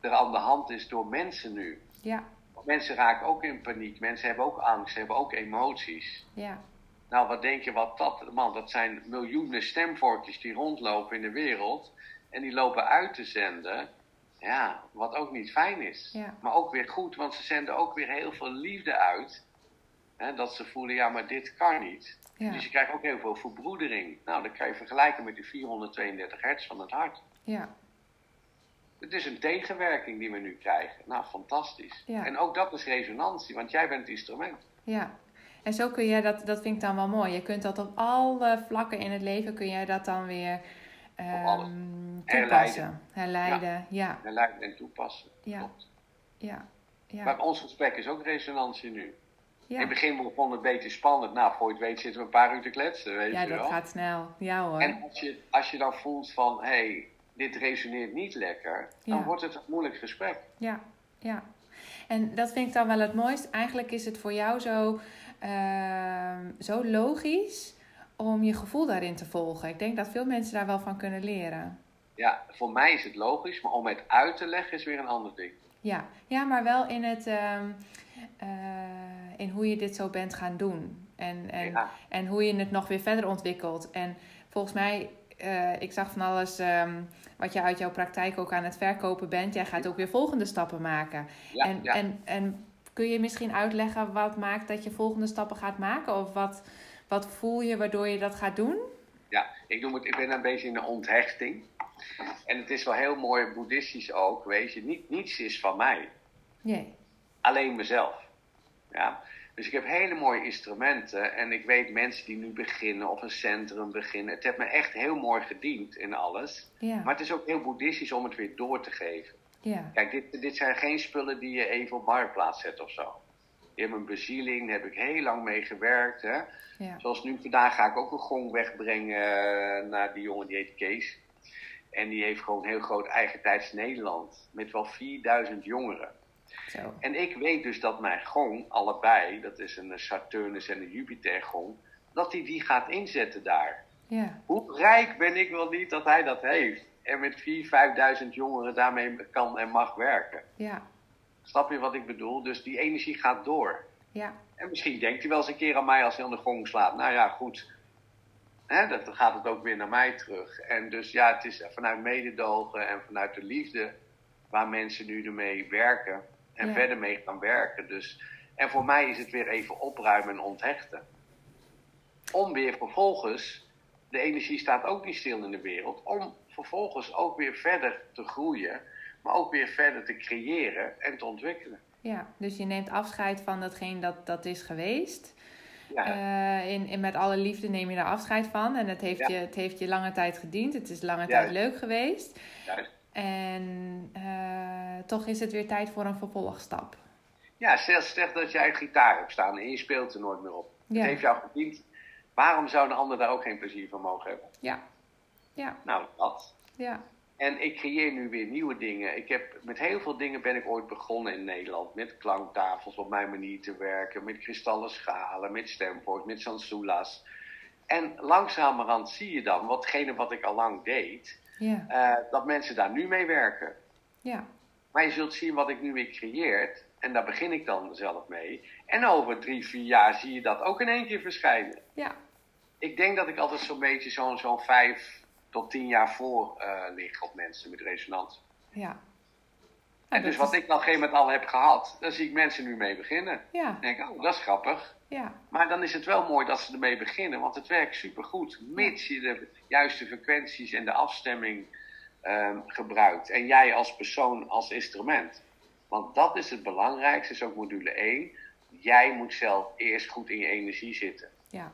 er aan de hand is door mensen nu. ja, Mensen raken ook in paniek, mensen hebben ook angst, hebben ook emoties. ja, Nou, wat denk je wat dat... Man, dat zijn miljoenen stemvorkjes die rondlopen in de wereld. En die lopen uit te zenden. Ja, wat ook niet fijn is. Ja. Maar ook weer goed, want ze zenden ook weer heel veel liefde uit. Hè, dat ze voelen, ja, maar dit kan niet. ja, Dus je krijgt ook heel veel verbroedering. Nou, dat kan je vergelijken met die 432 hertz van het hart. ja. Het is een tegenwerking die we nu krijgen. Nou, fantastisch. Ja. En ook dat is resonantie, want jij bent het instrument. Ja, en zo kun je dat, dat vind ik dan wel mooi. Je kunt dat op alle vlakken in het leven kun jij dat dan weer ehm, alles. toepassen. Herleiden. Ja, En leiden en toepassen. Ja. Klopt. ja, ja, Maar ons gesprek is ook resonantie nu. In ja. het begin begon het een beetje spannend. Nou, voor je het weet zitten we een paar uur te kletsen, weet Ja, je dat wel. gaat snel. Ja hoor. En als je, als je dan voelt van, hé, hey, dit resoneert niet lekker, Ja. dan wordt het een moeilijk gesprek. Ja, ja. En dat vind ik dan wel het mooist. Eigenlijk is het voor jou zo, ehm, zo logisch om je gevoel daarin te volgen. Ik denk dat veel mensen daar wel van kunnen leren. Ja, voor mij is het logisch, maar om het uit te leggen is weer een ander ding. Ja, ja maar wel in, het, ehm, eh, in hoe je dit zo bent gaan doen. En, en, Ja. en hoe je het nog weer verder ontwikkelt. En volgens mij, eh, ik zag van alles ehm, wat je uit jouw praktijk ook aan het verkopen bent. Jij gaat ook weer volgende stappen maken. Ja, en, ja. En, en kun je misschien uitleggen wat maakt dat je volgende stappen gaat maken? Of wat, wat voel je waardoor je dat gaat doen? Ja, ik, noem het, ik ben een beetje in de onthechting. En het is wel heel mooi boeddhistisch ook, weet je. Niet, niets is van mij. Nee. alleen mezelf. Ja? Dus ik heb hele mooie instrumenten en ik weet mensen die nu beginnen of een centrum beginnen. Het heeft me echt heel mooi gediend in alles. Ja, Maar het is ook heel boeddhistisch om het weer door te geven. ja, Kijk, dit, dit zijn geen spullen die je even op marktplaats zet of zo. In mijn bezieling daar heb ik heel lang mee gewerkt. Hè? ja, Zoals nu vandaag ga ik ook een gong wegbrengen eh, naar die jongen die heet Kees. En die heeft gewoon heel groot eigen tijds Nederland. Met wel 4000 jongeren. zo. En ik weet dus dat mijn gong, allebei, dat is een Saturnus en een Jupiter gong, dat hij die gaat inzetten daar. Ja, Hoe rijk ben ik wel niet dat hij dat heeft? En met 4.000, 5.000 jongeren daarmee kan en mag werken. ja, Snap je wat ik bedoel? Dus die energie gaat door. ja, En misschien denkt hij wel eens een keer aan mij als hij aan de gong slaat. Nou ja, goed. Hè, dat- dan gaat het ook weer naar mij terug. En dus ja, het is vanuit mededogen en vanuit de liefde waar mensen nu ermee werken en Ja. verder mee gaan werken. Dus, en voor mij is het weer even opruimen en onthechten. Om weer vervolgens, de energie staat ook niet stil in de wereld, om vervolgens ook weer verder te groeien, maar ook weer verder te creëren en te ontwikkelen. Ja, dus je neemt afscheid van datgene dat, dat is geweest. Ja. Eh, in, in, met alle liefde neem je daar afscheid van. En het heeft, Ja. je, het heeft je lange tijd gediend. Het is lange tijd Juist. leuk geweest. Juist. En eh, toch is het weer tijd voor een vervolgstap. Ja, stel, stel dat jij een gitaar hebt staan en je speelt er nooit meer op. Ja. Het heeft jou gediend. Waarom zou een ander daar ook geen plezier van mogen hebben? Ja, ja, Nou, dat. ja. En ik creëer nu weer nieuwe dingen. Ik heb, met heel veel dingen ben ik ooit begonnen in Nederland. Met klanktafels op mijn manier te werken. Met kristallen schalen, met stempoort, met sansoulas. En langzamerhand zie je dan, watgene wat ik al lang deed, Ja, eh, dat mensen daar nu mee werken. ja, Maar je zult zien wat ik nu weer creëert. En daar begin ik dan zelf mee. En over drie, vier jaar zie je dat ook in één keer verschijnen. ja, Ik denk dat ik altijd zo'n beetje zo'n zo'n vijf tot tien jaar voor eh, lig op mensen met resonantie. ja. En dus wat ik dan op een gegeven moment al heb gehad, dan zie ik mensen nu mee beginnen. Ja, Dan denk ik, oh, dat is grappig. ja, Maar dan is het wel mooi dat ze ermee beginnen, want het werkt supergoed. Mits je de juiste frequenties en de afstemming ehm, gebruikt. En jij als persoon als instrument. Want dat is het belangrijkste, is ook module 1. Jij moet zelf eerst goed in je energie zitten. ja,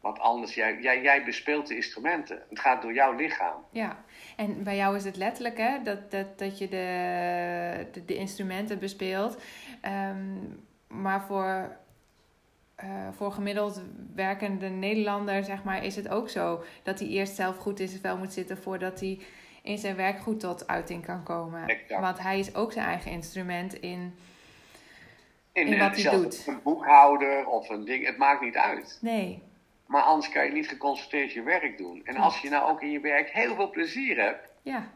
Want anders, jij, jij, jij bespeelt de instrumenten. Het gaat door jouw lichaam. ja. En bij jou is het letterlijk hè, dat, dat, dat je de, de, de instrumenten bespeelt. Ehm, maar voor, eh, voor gemiddeld werkende Nederlander zeg maar, is het ook zo dat hij eerst zelf goed in zijn vel moet zitten voordat hij in zijn werk goed tot uiting kan komen. Exact. Want hij is ook zijn eigen instrument in. In, In wat hij zelfs doet. Een boekhouder of een ding, het maakt niet uit. Nee, Maar anders kan je niet geconcentreerd je werk doen. En als je nou ook in je werk heel veel plezier hebt, ja,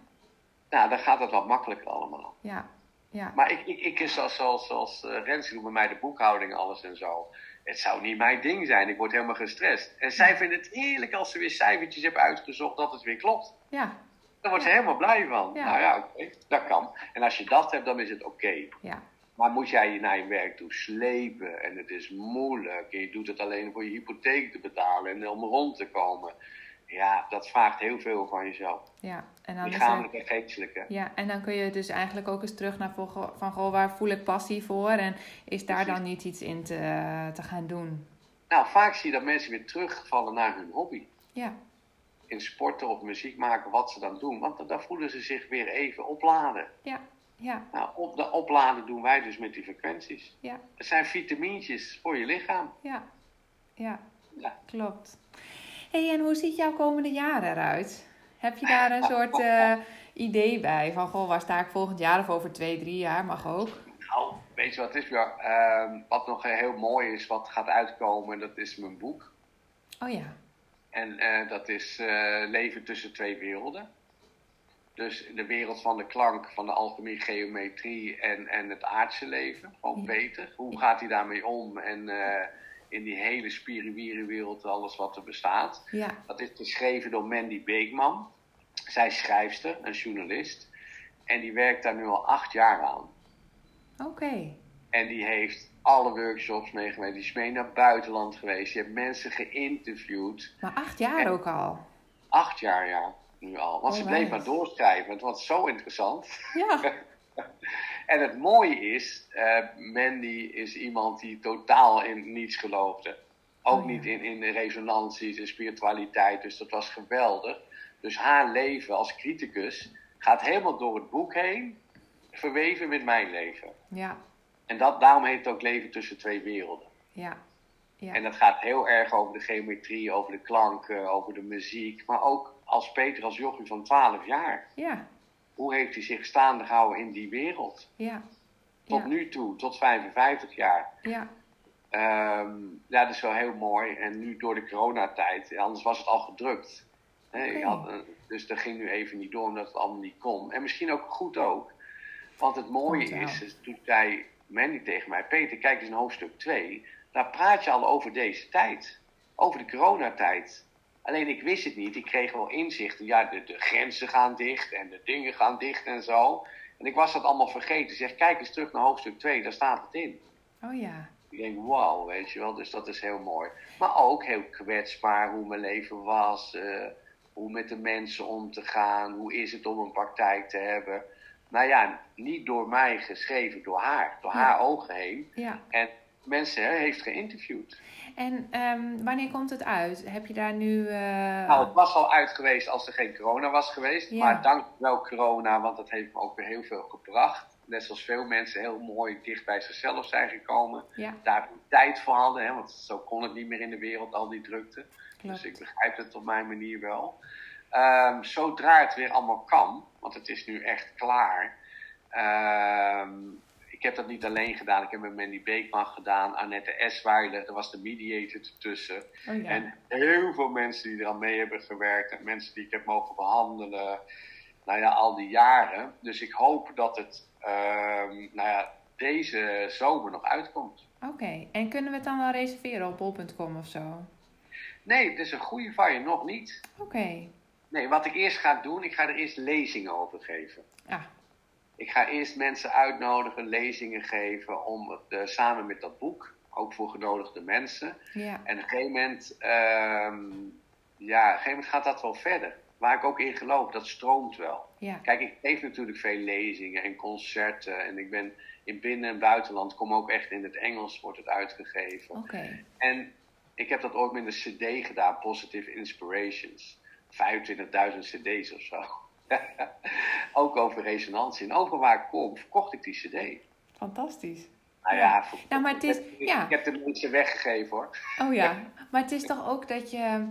nou, dan gaat het wat makkelijker allemaal. ja, ja, Maar ik, ik, ik is zoals, zoals, zoals eh, Renske doet bij mij de boekhouding en alles en zo. Het zou niet mijn ding zijn, ik word helemaal gestrest. En zij vindt het heerlijk als ze weer cijfertjes heeft uitgezocht dat het weer klopt. ja, Daar wordt ze helemaal blij van. Ja. Nou ja, oké, dat kan. En als je dat hebt, dan is het oké. ja, Maar moet jij je naar je werk toe slepen en het is moeilijk en je doet het alleen voor je hypotheek te betalen en om rond te komen. Ja, dat vraagt heel veel van jezelf. ja. En dan is er- Lichamelijk en geestelijk. hè. Ja, en dan kun je dus eigenlijk ook eens terug naar volgen van goh, waar voel ik passie voor en is daar Precies. dan niet iets in te, eh, te gaan doen? Nou, vaak zie je dat mensen weer terugvallen naar hun hobby. Ja, In sporten of muziek maken, wat ze dan doen. Want dan- dan voelen ze zich weer even opladen. ja, ja, Nou, op dat opladen doen wij dus met die frequenties. ja, Het zijn vitamintjes voor je lichaam. ja, ja, Ja. klopt. hey, en hoe ziet jouw komende jaar eruit? Heb je daar een soort eh, idee bij van goh, waar sta ik volgend jaar of over twee, drie jaar mag ook? Nou, weet je wat het is, Björn? Ehm, wat nog eh, heel mooi is, wat gaat uitkomen, dat is mijn boek. Oh ja, En eh, dat is eh, leven tussen twee werelden. Dus de wereld van de klank, van de alchemie, geometrie en, en het aardse leven. Gewoon Peter. Hoe gaat hij daarmee om? En eh, in die hele spiriwierenwereld, wereld, alles wat er bestaat. ja, Dat is geschreven door Mandy Beekman. Zij is schrijfster, een journalist. En die werkt daar nu al acht jaar aan. oké. En die heeft alle workshops meegemaakt. Die is mee naar het buitenland geweest. Die heeft mensen geïnterviewd. Maar acht jaar ook al. acht jaar ja, nu al. Want ze Alright. bleef maar doorschrijven. Het was zo interessant. Ja, En het mooie is, eh, Mandy is iemand die totaal in niets geloofde. Ook Oh, ja. niet in, in de resonanties en spiritualiteit. Dus dat was geweldig. Dus haar leven als criticus gaat helemaal door het boek heen. Verweven met mijn leven. ja, En dat, daarom heet het ook Leven tussen twee werelden. ja, ja. En dat gaat heel erg over de geometrie, over de klanken, over de muziek. Maar ook als Peter, als jochie van 12 jaar. ja, hoe heeft hij zich staande gehouden in die wereld? ja, Tot ja, nu toe, tot 55 jaar. ja, Ehm, ja, dat is wel heel mooi. En nu door de coronatijd, anders was het al gedrukt. Hè, je Oké. had, eh, dus dat ging nu even niet door, omdat het allemaal niet kon. En misschien ook goed ook. Want het mooie Komt wel. is, is, toen zei Mandy tegen mij... Peter, kijk eens in hoofdstuk 2. Daar praat je al over deze tijd. Over de coronatijd. Alleen ik wist het niet. Ik kreeg wel inzichten. Ja, de, de grenzen gaan dicht en de dingen gaan dicht en zo. En ik was dat allemaal vergeten. Zeg, kijk eens terug naar hoofdstuk 2, daar staat het in. Oh ja. Ik denk, wauw, weet je wel, dus dat is heel mooi. Maar ook heel kwetsbaar hoe mijn leven was, eh, hoe met de mensen om te gaan, hoe is het om een praktijk te hebben. Nou ja, niet door mij geschreven, door haar, door haar ogen heen. Ja. En mensen hè, heeft geïnterviewd. En ehm, wanneer komt het uit? Heb je daar nu... eh, Nou, het was al uit geweest als er geen corona was geweest. Ja. Maar dank wel corona, want dat heeft me ook weer heel veel gebracht. Net zoals veel mensen heel mooi dicht bij zichzelf zijn gekomen. Ja, daar tijd voor hadden. Hè, want zo kon het niet meer in de wereld, al die drukte. klopt. Dus ik begrijp het op mijn manier wel. Ehm, zodra het weer allemaal kan, want het is nu echt klaar. Ehm, ik heb dat niet alleen gedaan. Ik heb met Mandy Beekman gedaan, Annette Esweiler. Er was de mediator ertussen. Oh ja. En heel veel mensen die eraan mee hebben gewerkt. En mensen die ik heb mogen behandelen. Nou ja, al die jaren. Dus ik hoop dat het ehm, nou ja, deze zomer nog uitkomt. Oké. En kunnen we het dan wel reserveren op bol.com of zo? Oké. Nee, het is een goede van je nog niet. Nee, wat ik eerst ga doen, ik ga er eerst lezingen over geven. Ah, Ik ga eerst mensen uitnodigen, lezingen geven om het, eh, samen met dat boek, ook voor genodigde mensen. ja. En op een gegeven moment, ehm, ja, op een gegeven moment gaat dat wel verder. Waar ik ook in geloof, dat stroomt wel. Ja. Kijk, ik geef natuurlijk veel lezingen en concerten. En ik ben in binnen- en buitenland, kom ook echt in het Engels, wordt het uitgegeven. Oké. En ik heb dat ooit met een CD gedaan, Positive Inspirations. 25.000 CD's of zo. Ook over resonantie. En overal waar ik kom, verkocht ik die CD. Fantastisch. Nou Ja. ja, verkocht. Nou, maar het is- ik, heb, ja. ik heb de mensen weggegeven hoor. Oh ja, maar het is toch ook dat je,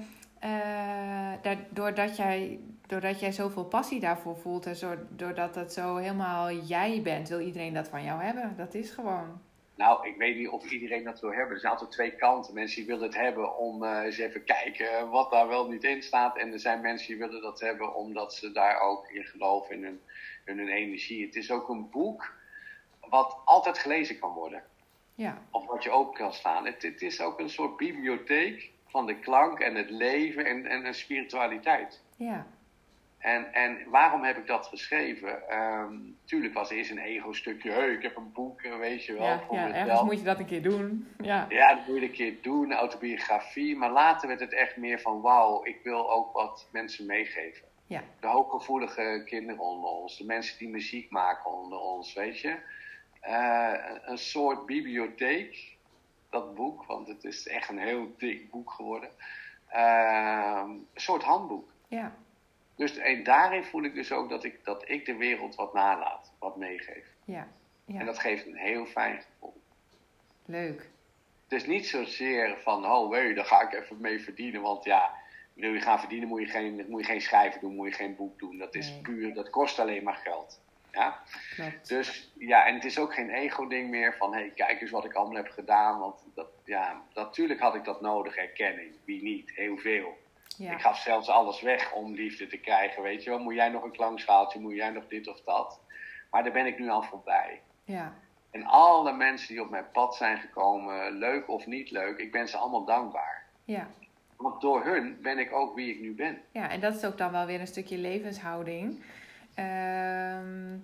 eh, daar- doordat, jij, doordat jij zoveel passie daarvoor voelt en zo, doordat dat zo helemaal jij bent, wil iedereen dat van jou hebben. Dat is gewoon. Nou, ik weet niet of iedereen dat wil hebben. Er zijn altijd twee kanten. Mensen die willen het hebben om eh, eens even kijken wat daar wel niet in staat. En er zijn mensen die willen dat hebben omdat ze daar ook in geloven, in hun, in hun energie. Het is ook een boek wat altijd gelezen kan worden. Ja, of wat je open kan slaan. Het, het is ook een soort bibliotheek van de klank en het leven en, en, en spiritualiteit. ja, En, en waarom heb ik dat geschreven? Ehm, tuurlijk was er eerst een ego-stukje. Hey, ik heb een boek, eh, weet je wel. ja, voor ja mezelf. ergens moet je dat een keer doen. Ja, Ja, dat moet je een keer doen, autobiografie. Maar later werd het echt meer van, wauw, ik wil ook wat mensen meegeven. Ja. De hooggevoelige kinderen onder ons, de mensen die muziek maken onder ons, weet je. Eh, een soort bibliotheek, dat boek, want het is echt een heel dik boek geworden. Eh, een soort handboek. ja, Dus en daarin voel ik dus ook dat ik, dat ik de wereld wat nalaat, wat meegeef. ja, En ja. dat geeft een heel fijn gevoel. Leuk. Het is niet zozeer van, oh wee, daar ga ik even mee verdienen. Want ja, wil je gaan verdienen moet je geen, moet je geen schrijven doen, moet je geen boek doen. Dat is Nee. puur, dat kost alleen maar geld. Ja? Klopt. Dus ja, en het is ook geen ego-ding meer van, hé, hey, kijk eens wat ik allemaal heb gedaan. Want dat, ja, natuurlijk had ik dat nodig, erkenning. Wie niet? Heel veel. Ik Ja, gaf zelfs alles weg om liefde te krijgen, weet je wel. Moet jij nog een klankschaaltje, moet jij nog dit of dat. Maar daar ben ik nu al voorbij. ja, En alle mensen die op mijn pad zijn gekomen, leuk of niet leuk, ik ben ze allemaal dankbaar. ja. Want door hun ben ik ook wie ik nu ben. Ja, en dat is ook dan wel weer een stukje levenshouding. Ehm,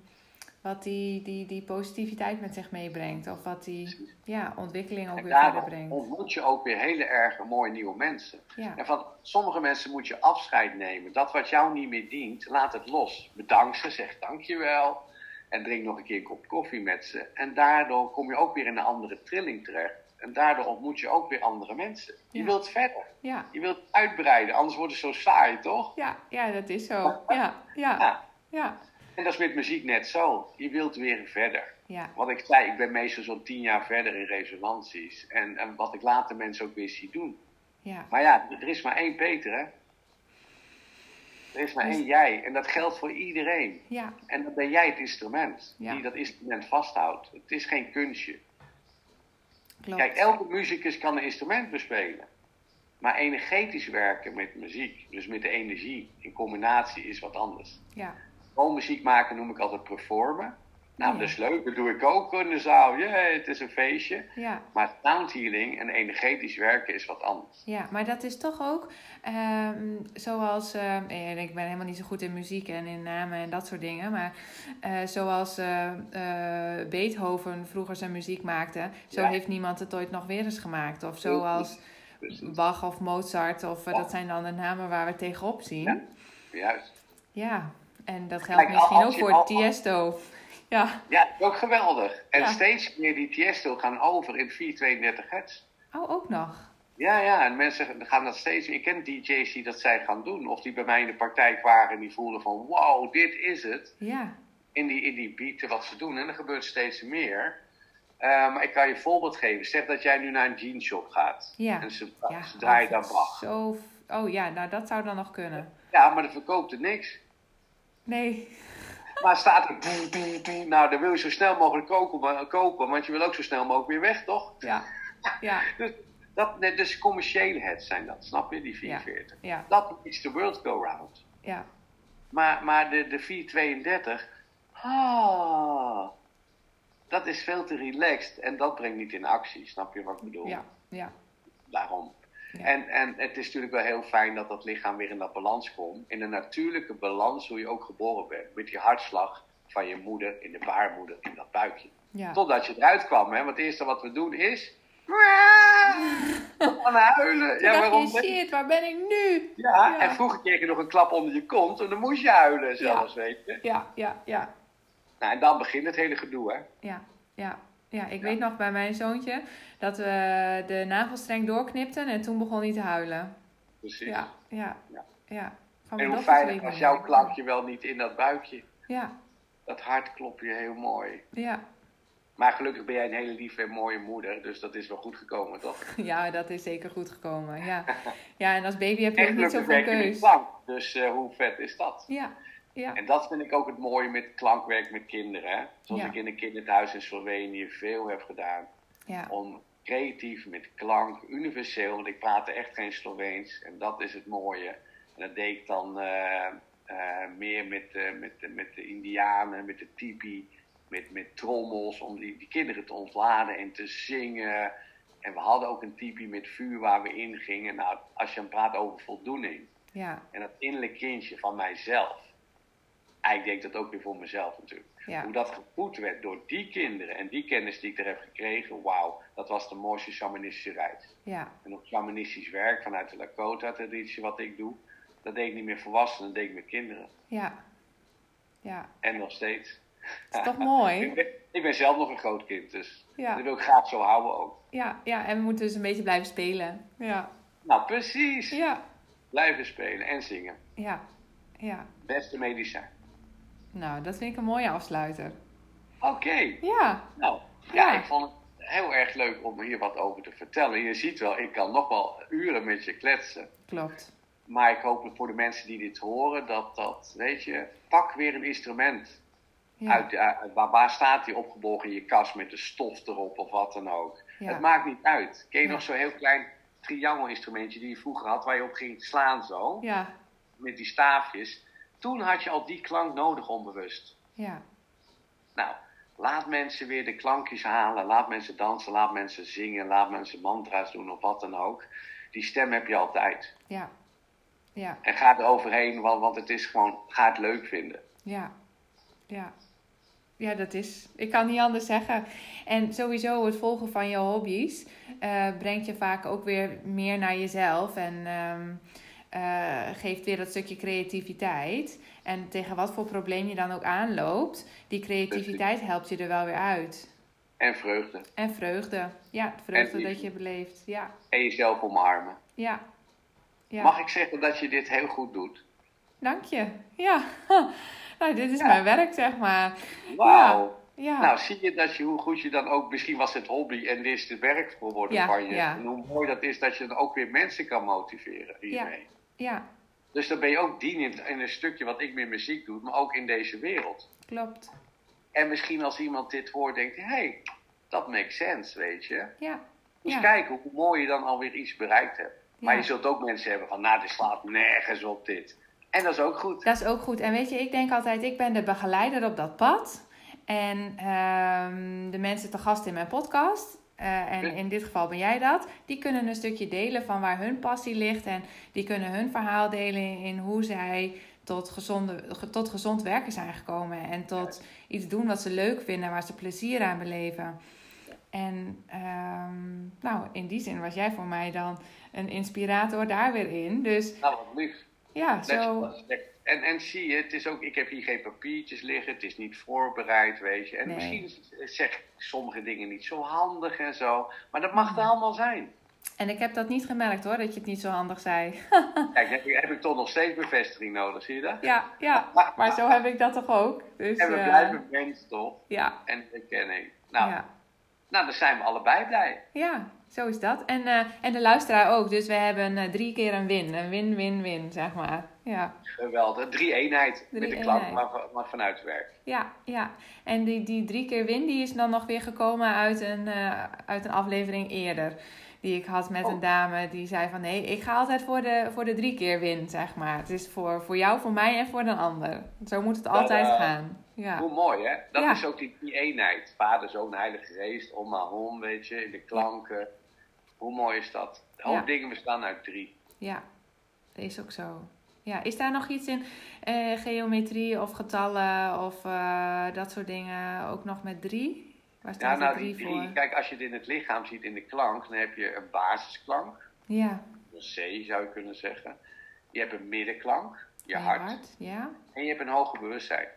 wat die, die, die positiviteit met zich meebrengt. Of wat die ja, ontwikkeling ook En weer verder daarom brengt. ontmoet je ook weer hele erg mooie nieuwe mensen. Ja, En van sommige mensen moet je afscheid nemen. Dat wat jou niet meer dient, laat het los. Bedank ze, zeg dankjewel. En drink nog een keer een kop koffie met ze. En daardoor kom je ook weer in een andere trilling terecht. En daardoor ontmoet je ook weer andere mensen. Je Ja. wilt verder. ja, Je wilt uitbreiden, anders wordt het zo saai, toch? ja, ja, dat is zo. Ja, ja, Ja. ja. En dat is met muziek net zo. Je wilt weer verder. Ja, Wat ik zei, ik ben meestal zo'n tien jaar verder in resonanties. En, en wat ik later mensen ook weer zie doen. ja, Maar ja, er is maar één Peter, hè? Er is maar één Dus- jij. En dat geldt voor iedereen. ja, En dan ben jij het instrument Ja. die dat instrument vasthoudt. Het is geen kunstje. Kijk, klopt. elke muzikus kan een instrument bespelen. Maar energetisch werken met muziek, dus met de energie in combinatie, is wat anders. Ja, Gewoon muziek maken noem ik altijd performen. Nou, Oh, Ja. dat is leuk. Dat doe ik ook in de zaal. Jee, het is een feestje. Ja, Maar sound healing en energetisch werken is wat anders. ja, maar dat is toch ook ehm, zoals. ehm, en ik ben helemaal niet zo goed in muziek en in namen en dat soort dingen. Maar eh, zoals eh, eh, Beethoven vroeger zijn muziek maakte, zo Ja. heeft niemand het ooit nog weer eens gemaakt. Of zoals Dus, Bach of Mozart, of eh, Ja. dat zijn dan de namen waar we tegenop zien. Ja, Ja. juist. en dat geldt Kijk, al- misschien als ook je voor al- Tiesto. Ja, Ja, dat is ook geweldig. En Ja. steeds meer die Tiesto gaan over in 432 hertz. oh, ook nog. Ja, ja, en mensen gaan dat steeds. Ik ken DJ's die dat zijn gaan doen. Of die bij mij in de praktijk waren en die voelden van wow, dit is het. Ja, In die, in die beat wat ze doen. En er gebeurt steeds meer. Eh, maar ik kan je een voorbeeld geven. Zeg dat jij nu naar een jeanshop gaat. Ja. En ze, ja. ze draaien dat dan is Bach. Zo... f- Oh ja, nou dat zou dan nog kunnen. Ja, maar dan verkoopt er niks. Nee, Maar staat er... boem, boem, boem. Nou, dan wil je zo snel mogelijk kopen, kopen. Want je wil ook zo snel mogelijk weer weg, toch? ja, ja, Dus, dat, nee, dus commerciële hits zijn dat. Snap je, die 44? ja, Dat is the world go round. ja. Maar, maar de, de 432, ah, dat is veel te relaxed en dat brengt niet in actie, snap je wat ik bedoel? Ja, ja, Daarom. Ja. En, en het is natuurlijk wel heel fijn dat dat lichaam weer in dat balans komt. In een natuurlijke balans hoe je ook geboren bent. Met die hartslag van je moeder in de baarmoeder in dat buikje. ja. Totdat je eruit kwam, hè? Want het eerste wat we doen is. Aan huilen. Toen Ja, dacht waarom? je, shit, waar ben ik nu? Ja, Ja. en vroeger kreeg je nog een klap onder je kont en dan moest je huilen zelfs, weet je. Ja, ja, ja, Nou, en dan begint het hele gedoe, hè? ja, ja. Ja, ik Ja. weet nog bij mijn zoontje dat we de nagelstreng doorknipten en toen begon hij te huilen. Precies. Ja, ja, Ja. ja. Van mijn Dus En hoe dochter fijn weet was ik jouw nog. klapje wel niet in dat buikje? Ja, Dat hartklopje, heel mooi. ja, Maar gelukkig ben jij een hele lieve en mooie moeder, dus dat is wel goed gekomen, toch? ja, dat is zeker goed gekomen. Ja, ja en als baby heb je En ook niet gelukkig zoveel werk je met keus. klank, dus eh, hoe vet is dat? Ja, ja, En dat vind ik ook het mooie met klankwerk met kinderen. hè? Zoals Ja. ik in een kinderthuis in Slovenië veel heb gedaan. ja, Om creatief met klank, universeel, want ik praatte echt geen Sloveens. En dat is het mooie. En dat deed ik dan eh, eh, meer met, eh, met, de- met de Indianen, met de tipi, met, met trommels, om die, die kinderen te ontladen en te zingen. En we hadden ook een tipi met vuur waar we in gingen. Nou, als je dan praat over voldoening ja, en dat innerlijk kindje van mijzelf. En ik denk dat ook weer voor mezelf natuurlijk. ja, Hoe dat gevoed werd door die kinderen en die kennis die ik er heb gekregen, wauw, dat was de mooiste shamanistische reis. ja, En ook shamanistisch werk vanuit de Lakota-traditie, wat ik doe, dat deed ik niet meer volwassenen, dat deed ik met kinderen. ja. Ja, En nog steeds. het is toch mooi? Ik ben, ik ben zelf nog een groot kind, dus Ja. dat wil ik graag zo houden ook. Ja, ja, en we moeten dus een beetje blijven spelen. Ja, Nou, precies. ja, Blijven spelen en zingen. ja, ja. Beste medicijn. Nou, dat vind ik een mooie afsluiter. Oké. Ja, Nou, Ja. ja, ik vond het heel erg leuk om hier wat over te vertellen. Je ziet wel, ik kan nog wel uren met je kletsen. klopt. Maar ik hoop voor de mensen die dit horen, dat dat, weet je, pak weer een instrument. Ja, Uit, uit- waar, waar staat die opgeborgen in je kast met de stof erop of wat dan ook? Het ja, maakt niet uit. Ken je Ja. nog zo'n heel klein triangelinstrumentje die je vroeger had, waar je op ging slaan zo, ja, met die staafjes? Toen had je al die klank nodig onbewust. ja, Nou, laat mensen weer de klankjes halen. Laat mensen dansen, laat mensen zingen, laat mensen mantra's doen of wat dan ook. Die stem heb je altijd. ja, ja, En ga er overheen, want, want het is gewoon, ga het leuk vinden. ja, ja. Ja, dat is. Ik kan niet anders zeggen. En sowieso, het volgen van je hobby's eh, brengt je vaak ook weer meer naar jezelf en ehm, eh, geeft weer dat stukje creativiteit. En tegen wat voor probleem je dan ook aanloopt, die creativiteit helpt je er wel weer uit. En vreugde. En vreugde. Ja, de vreugde En liefde. dat je beleeft. Ja, En jezelf omarmen. ja. ja. Mag ik zeggen dat je dit heel goed doet? Dank je. Ja. nou, dit is Ja. mijn werk, zeg maar. Wauw. Ja. Nou, zie je dat je hoe goed je dan ook, misschien was het hobby en dit is de werk geworden Ja, van je. ja. En hoe mooi dat is dat je dan ook weer mensen kan motiveren hiermee. ja, Dus dan ben je ook dienend in een stukje wat ik met muziek doe, maar ook in deze wereld. klopt. En misschien als iemand dit hoort, denkt hij: hey, dat makes sense, weet je. Ja. Dus Ja. kijk hoe mooi je dan alweer iets bereikt hebt. Maar Ja. je zult ook mensen hebben van: nou, dit slaat nergens op dit. En dat is ook goed. Dat is ook goed. En weet je, ik denk altijd, ik ben de begeleider op dat pad. En ehm, de mensen te gast in mijn podcast, eh, en in dit geval ben jij dat, die kunnen een stukje delen van waar hun passie ligt. En die kunnen hun verhaal delen in, in hoe zij tot, gezonde, ge- tot gezond werken zijn gekomen. En tot iets doen wat ze leuk vinden, waar ze plezier aan beleven. En ehm, nou, in die zin was jij voor mij dan een inspirator daar weer in. Dus Nou, wat lief. ja, Net zo. zoals- En, en zie je, het is ook, ik heb hier geen papiertjes liggen, het is niet voorbereid, weet je. En Nee. misschien eh, zeg ik sommige dingen niet zo handig en zo, maar dat mag er allemaal zijn. En ik heb dat niet gemerkt hoor, dat je het niet zo handig zei. Kijk, heb ik, heb ik toch nog steeds bevestiging nodig, zie je dat? Ja, ja, maar zo heb ik dat toch ook. Dus, En we eh, blijven mensen toch? ja, En erkenning. Nou, ja. nou, dan zijn we allebei blij. Ja, zo is dat. En, eh, en de luisteraar ook. Dus we hebben eh, drie keer een win. Een win-win-win, zeg maar. Ja, Geweldig. Drie eenheid met de klant, Drie-eenheid. maar, van- maar vanuit het werk. ja, ja. En die, die drie keer win die is dan nog weer gekomen uit een, eh, uit een aflevering eerder. Die ik had met Oh. een dame die zei van... Nee, ik ga altijd voor de, voor de drie keer win, zeg maar. Het is voor, voor jou, voor mij en voor een ander. Zo moet het altijd Tadaa. gaan. Ja, Hoe mooi, hè? Dat Ja. is ook die, die eenheid. Vader, zoon, heilige geest, om maar om, weet je, in de klanken. Hoe mooi is dat? Een hoop Ja. dingen bestaan uit drie. ja. Dat is ook zo. Ja, is daar nog iets in eh, geometrie of getallen of eh, dat soort dingen ook nog met drie? Waar Ja, staat nou de die drie, drie. voor? Kijk, als je het in het lichaam ziet in de klank, dan heb je een basisklank. Ja, Een C zou je kunnen zeggen. Je hebt een middenklank, je ja, hart. Ja, En je hebt een hoger bewustzijn.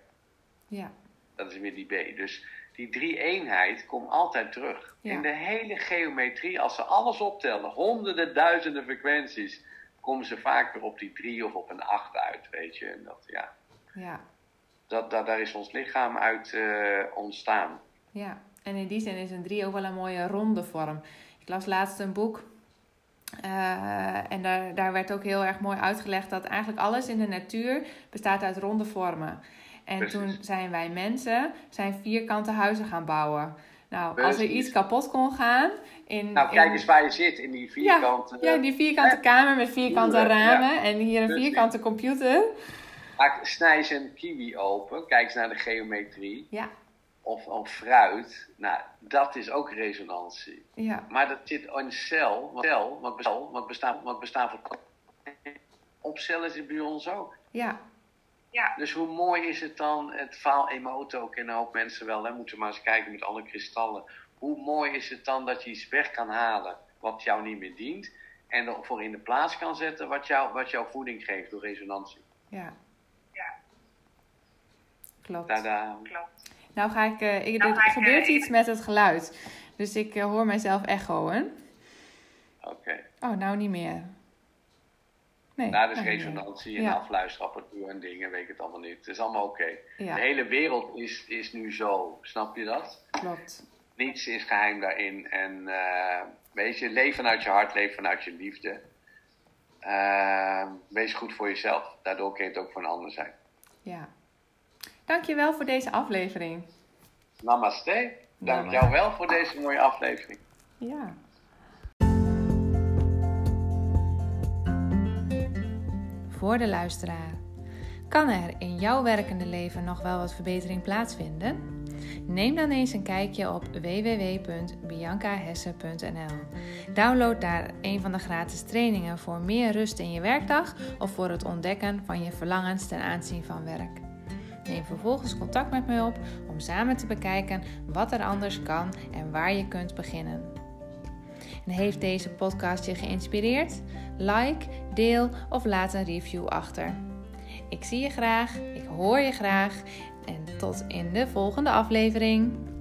ja, Dat is weer die B. Dus die drie-eenheid komt altijd terug. Ja. In de hele geometrie, als ze alles optellen, honderden, duizenden frequenties, komen ze vaak weer op die drie of op een acht uit, weet je. En dat, ja, ja, dat, dat, daar is ons lichaam uit eh, ontstaan. ja. En in die zin is een drie ook wel een mooie ronde vorm. Ik las laatst een boek eh, en daar, daar werd ook heel erg mooi uitgelegd dat eigenlijk alles in de natuur bestaat uit ronde vormen. En Precies. toen zijn wij mensen zijn vierkante huizen gaan bouwen. Nou, als er Precies. iets kapot kon gaan. In, Nou, in- kijk eens waar je zit in die vierkante. Ja, die vierkante kamer met vierkante Ja. ramen en hier een Dus- vierkante computer. Maak, snij eens een kiwi open, kijk eens naar de geometrie. Ja, Of, of fruit. Nou, dat is ook resonantie. ja, Maar dat zit in cel, want cel, wat bestaan, wat bestaan, wat bestaan van op cellen zit bij ons ook. ja, Ja. Dus hoe mooi is het dan, het verhaal in mijn auto ook en een hoop mensen wel, hè, moeten maar eens kijken met alle kristallen. Hoe mooi is het dan dat je iets weg kan halen wat jou niet meer dient en ervoor in de plaats kan zetten wat, jou, wat jouw voeding geeft door resonantie. ja. Klopt. Tada. Nou ga ik, eh, ik, er gebeurt iets met het geluid. Dus ik eh, hoor mijzelf echoen. Oké. Oh, nou niet meer. Nee. Nou, dus nou niet meer. resonantie en Ja. afluisterapparatuur en dingen, weet ik het allemaal niet. Het is allemaal oké. De Ja, hele wereld is, is nu zo, snap je dat? klopt. Niets is geheim daarin. En eh, weet je, leef vanuit je hart, leef vanuit je liefde. Eh, wees goed voor jezelf. Daardoor kun je het ook voor een ander zijn. Ja. Dankjewel voor deze aflevering. Namaste. Dank Namaste. jou wel voor deze mooie aflevering. Ja. Voor de luisteraar. Kan er in jouw werkende leven nog wel wat verbetering plaatsvinden? Neem dan eens een kijkje op www.biancahessen.nl. Download daar een van de gratis trainingen voor meer rust in je werkdag of voor het ontdekken van je verlangens ten aanzien van werk. Neem vervolgens contact met me op om samen te bekijken wat er anders kan en waar je kunt beginnen. En heeft deze podcast je geïnspireerd? Like, deel of laat een review achter. Ik zie je graag, ik hoor je graag en tot in de volgende aflevering.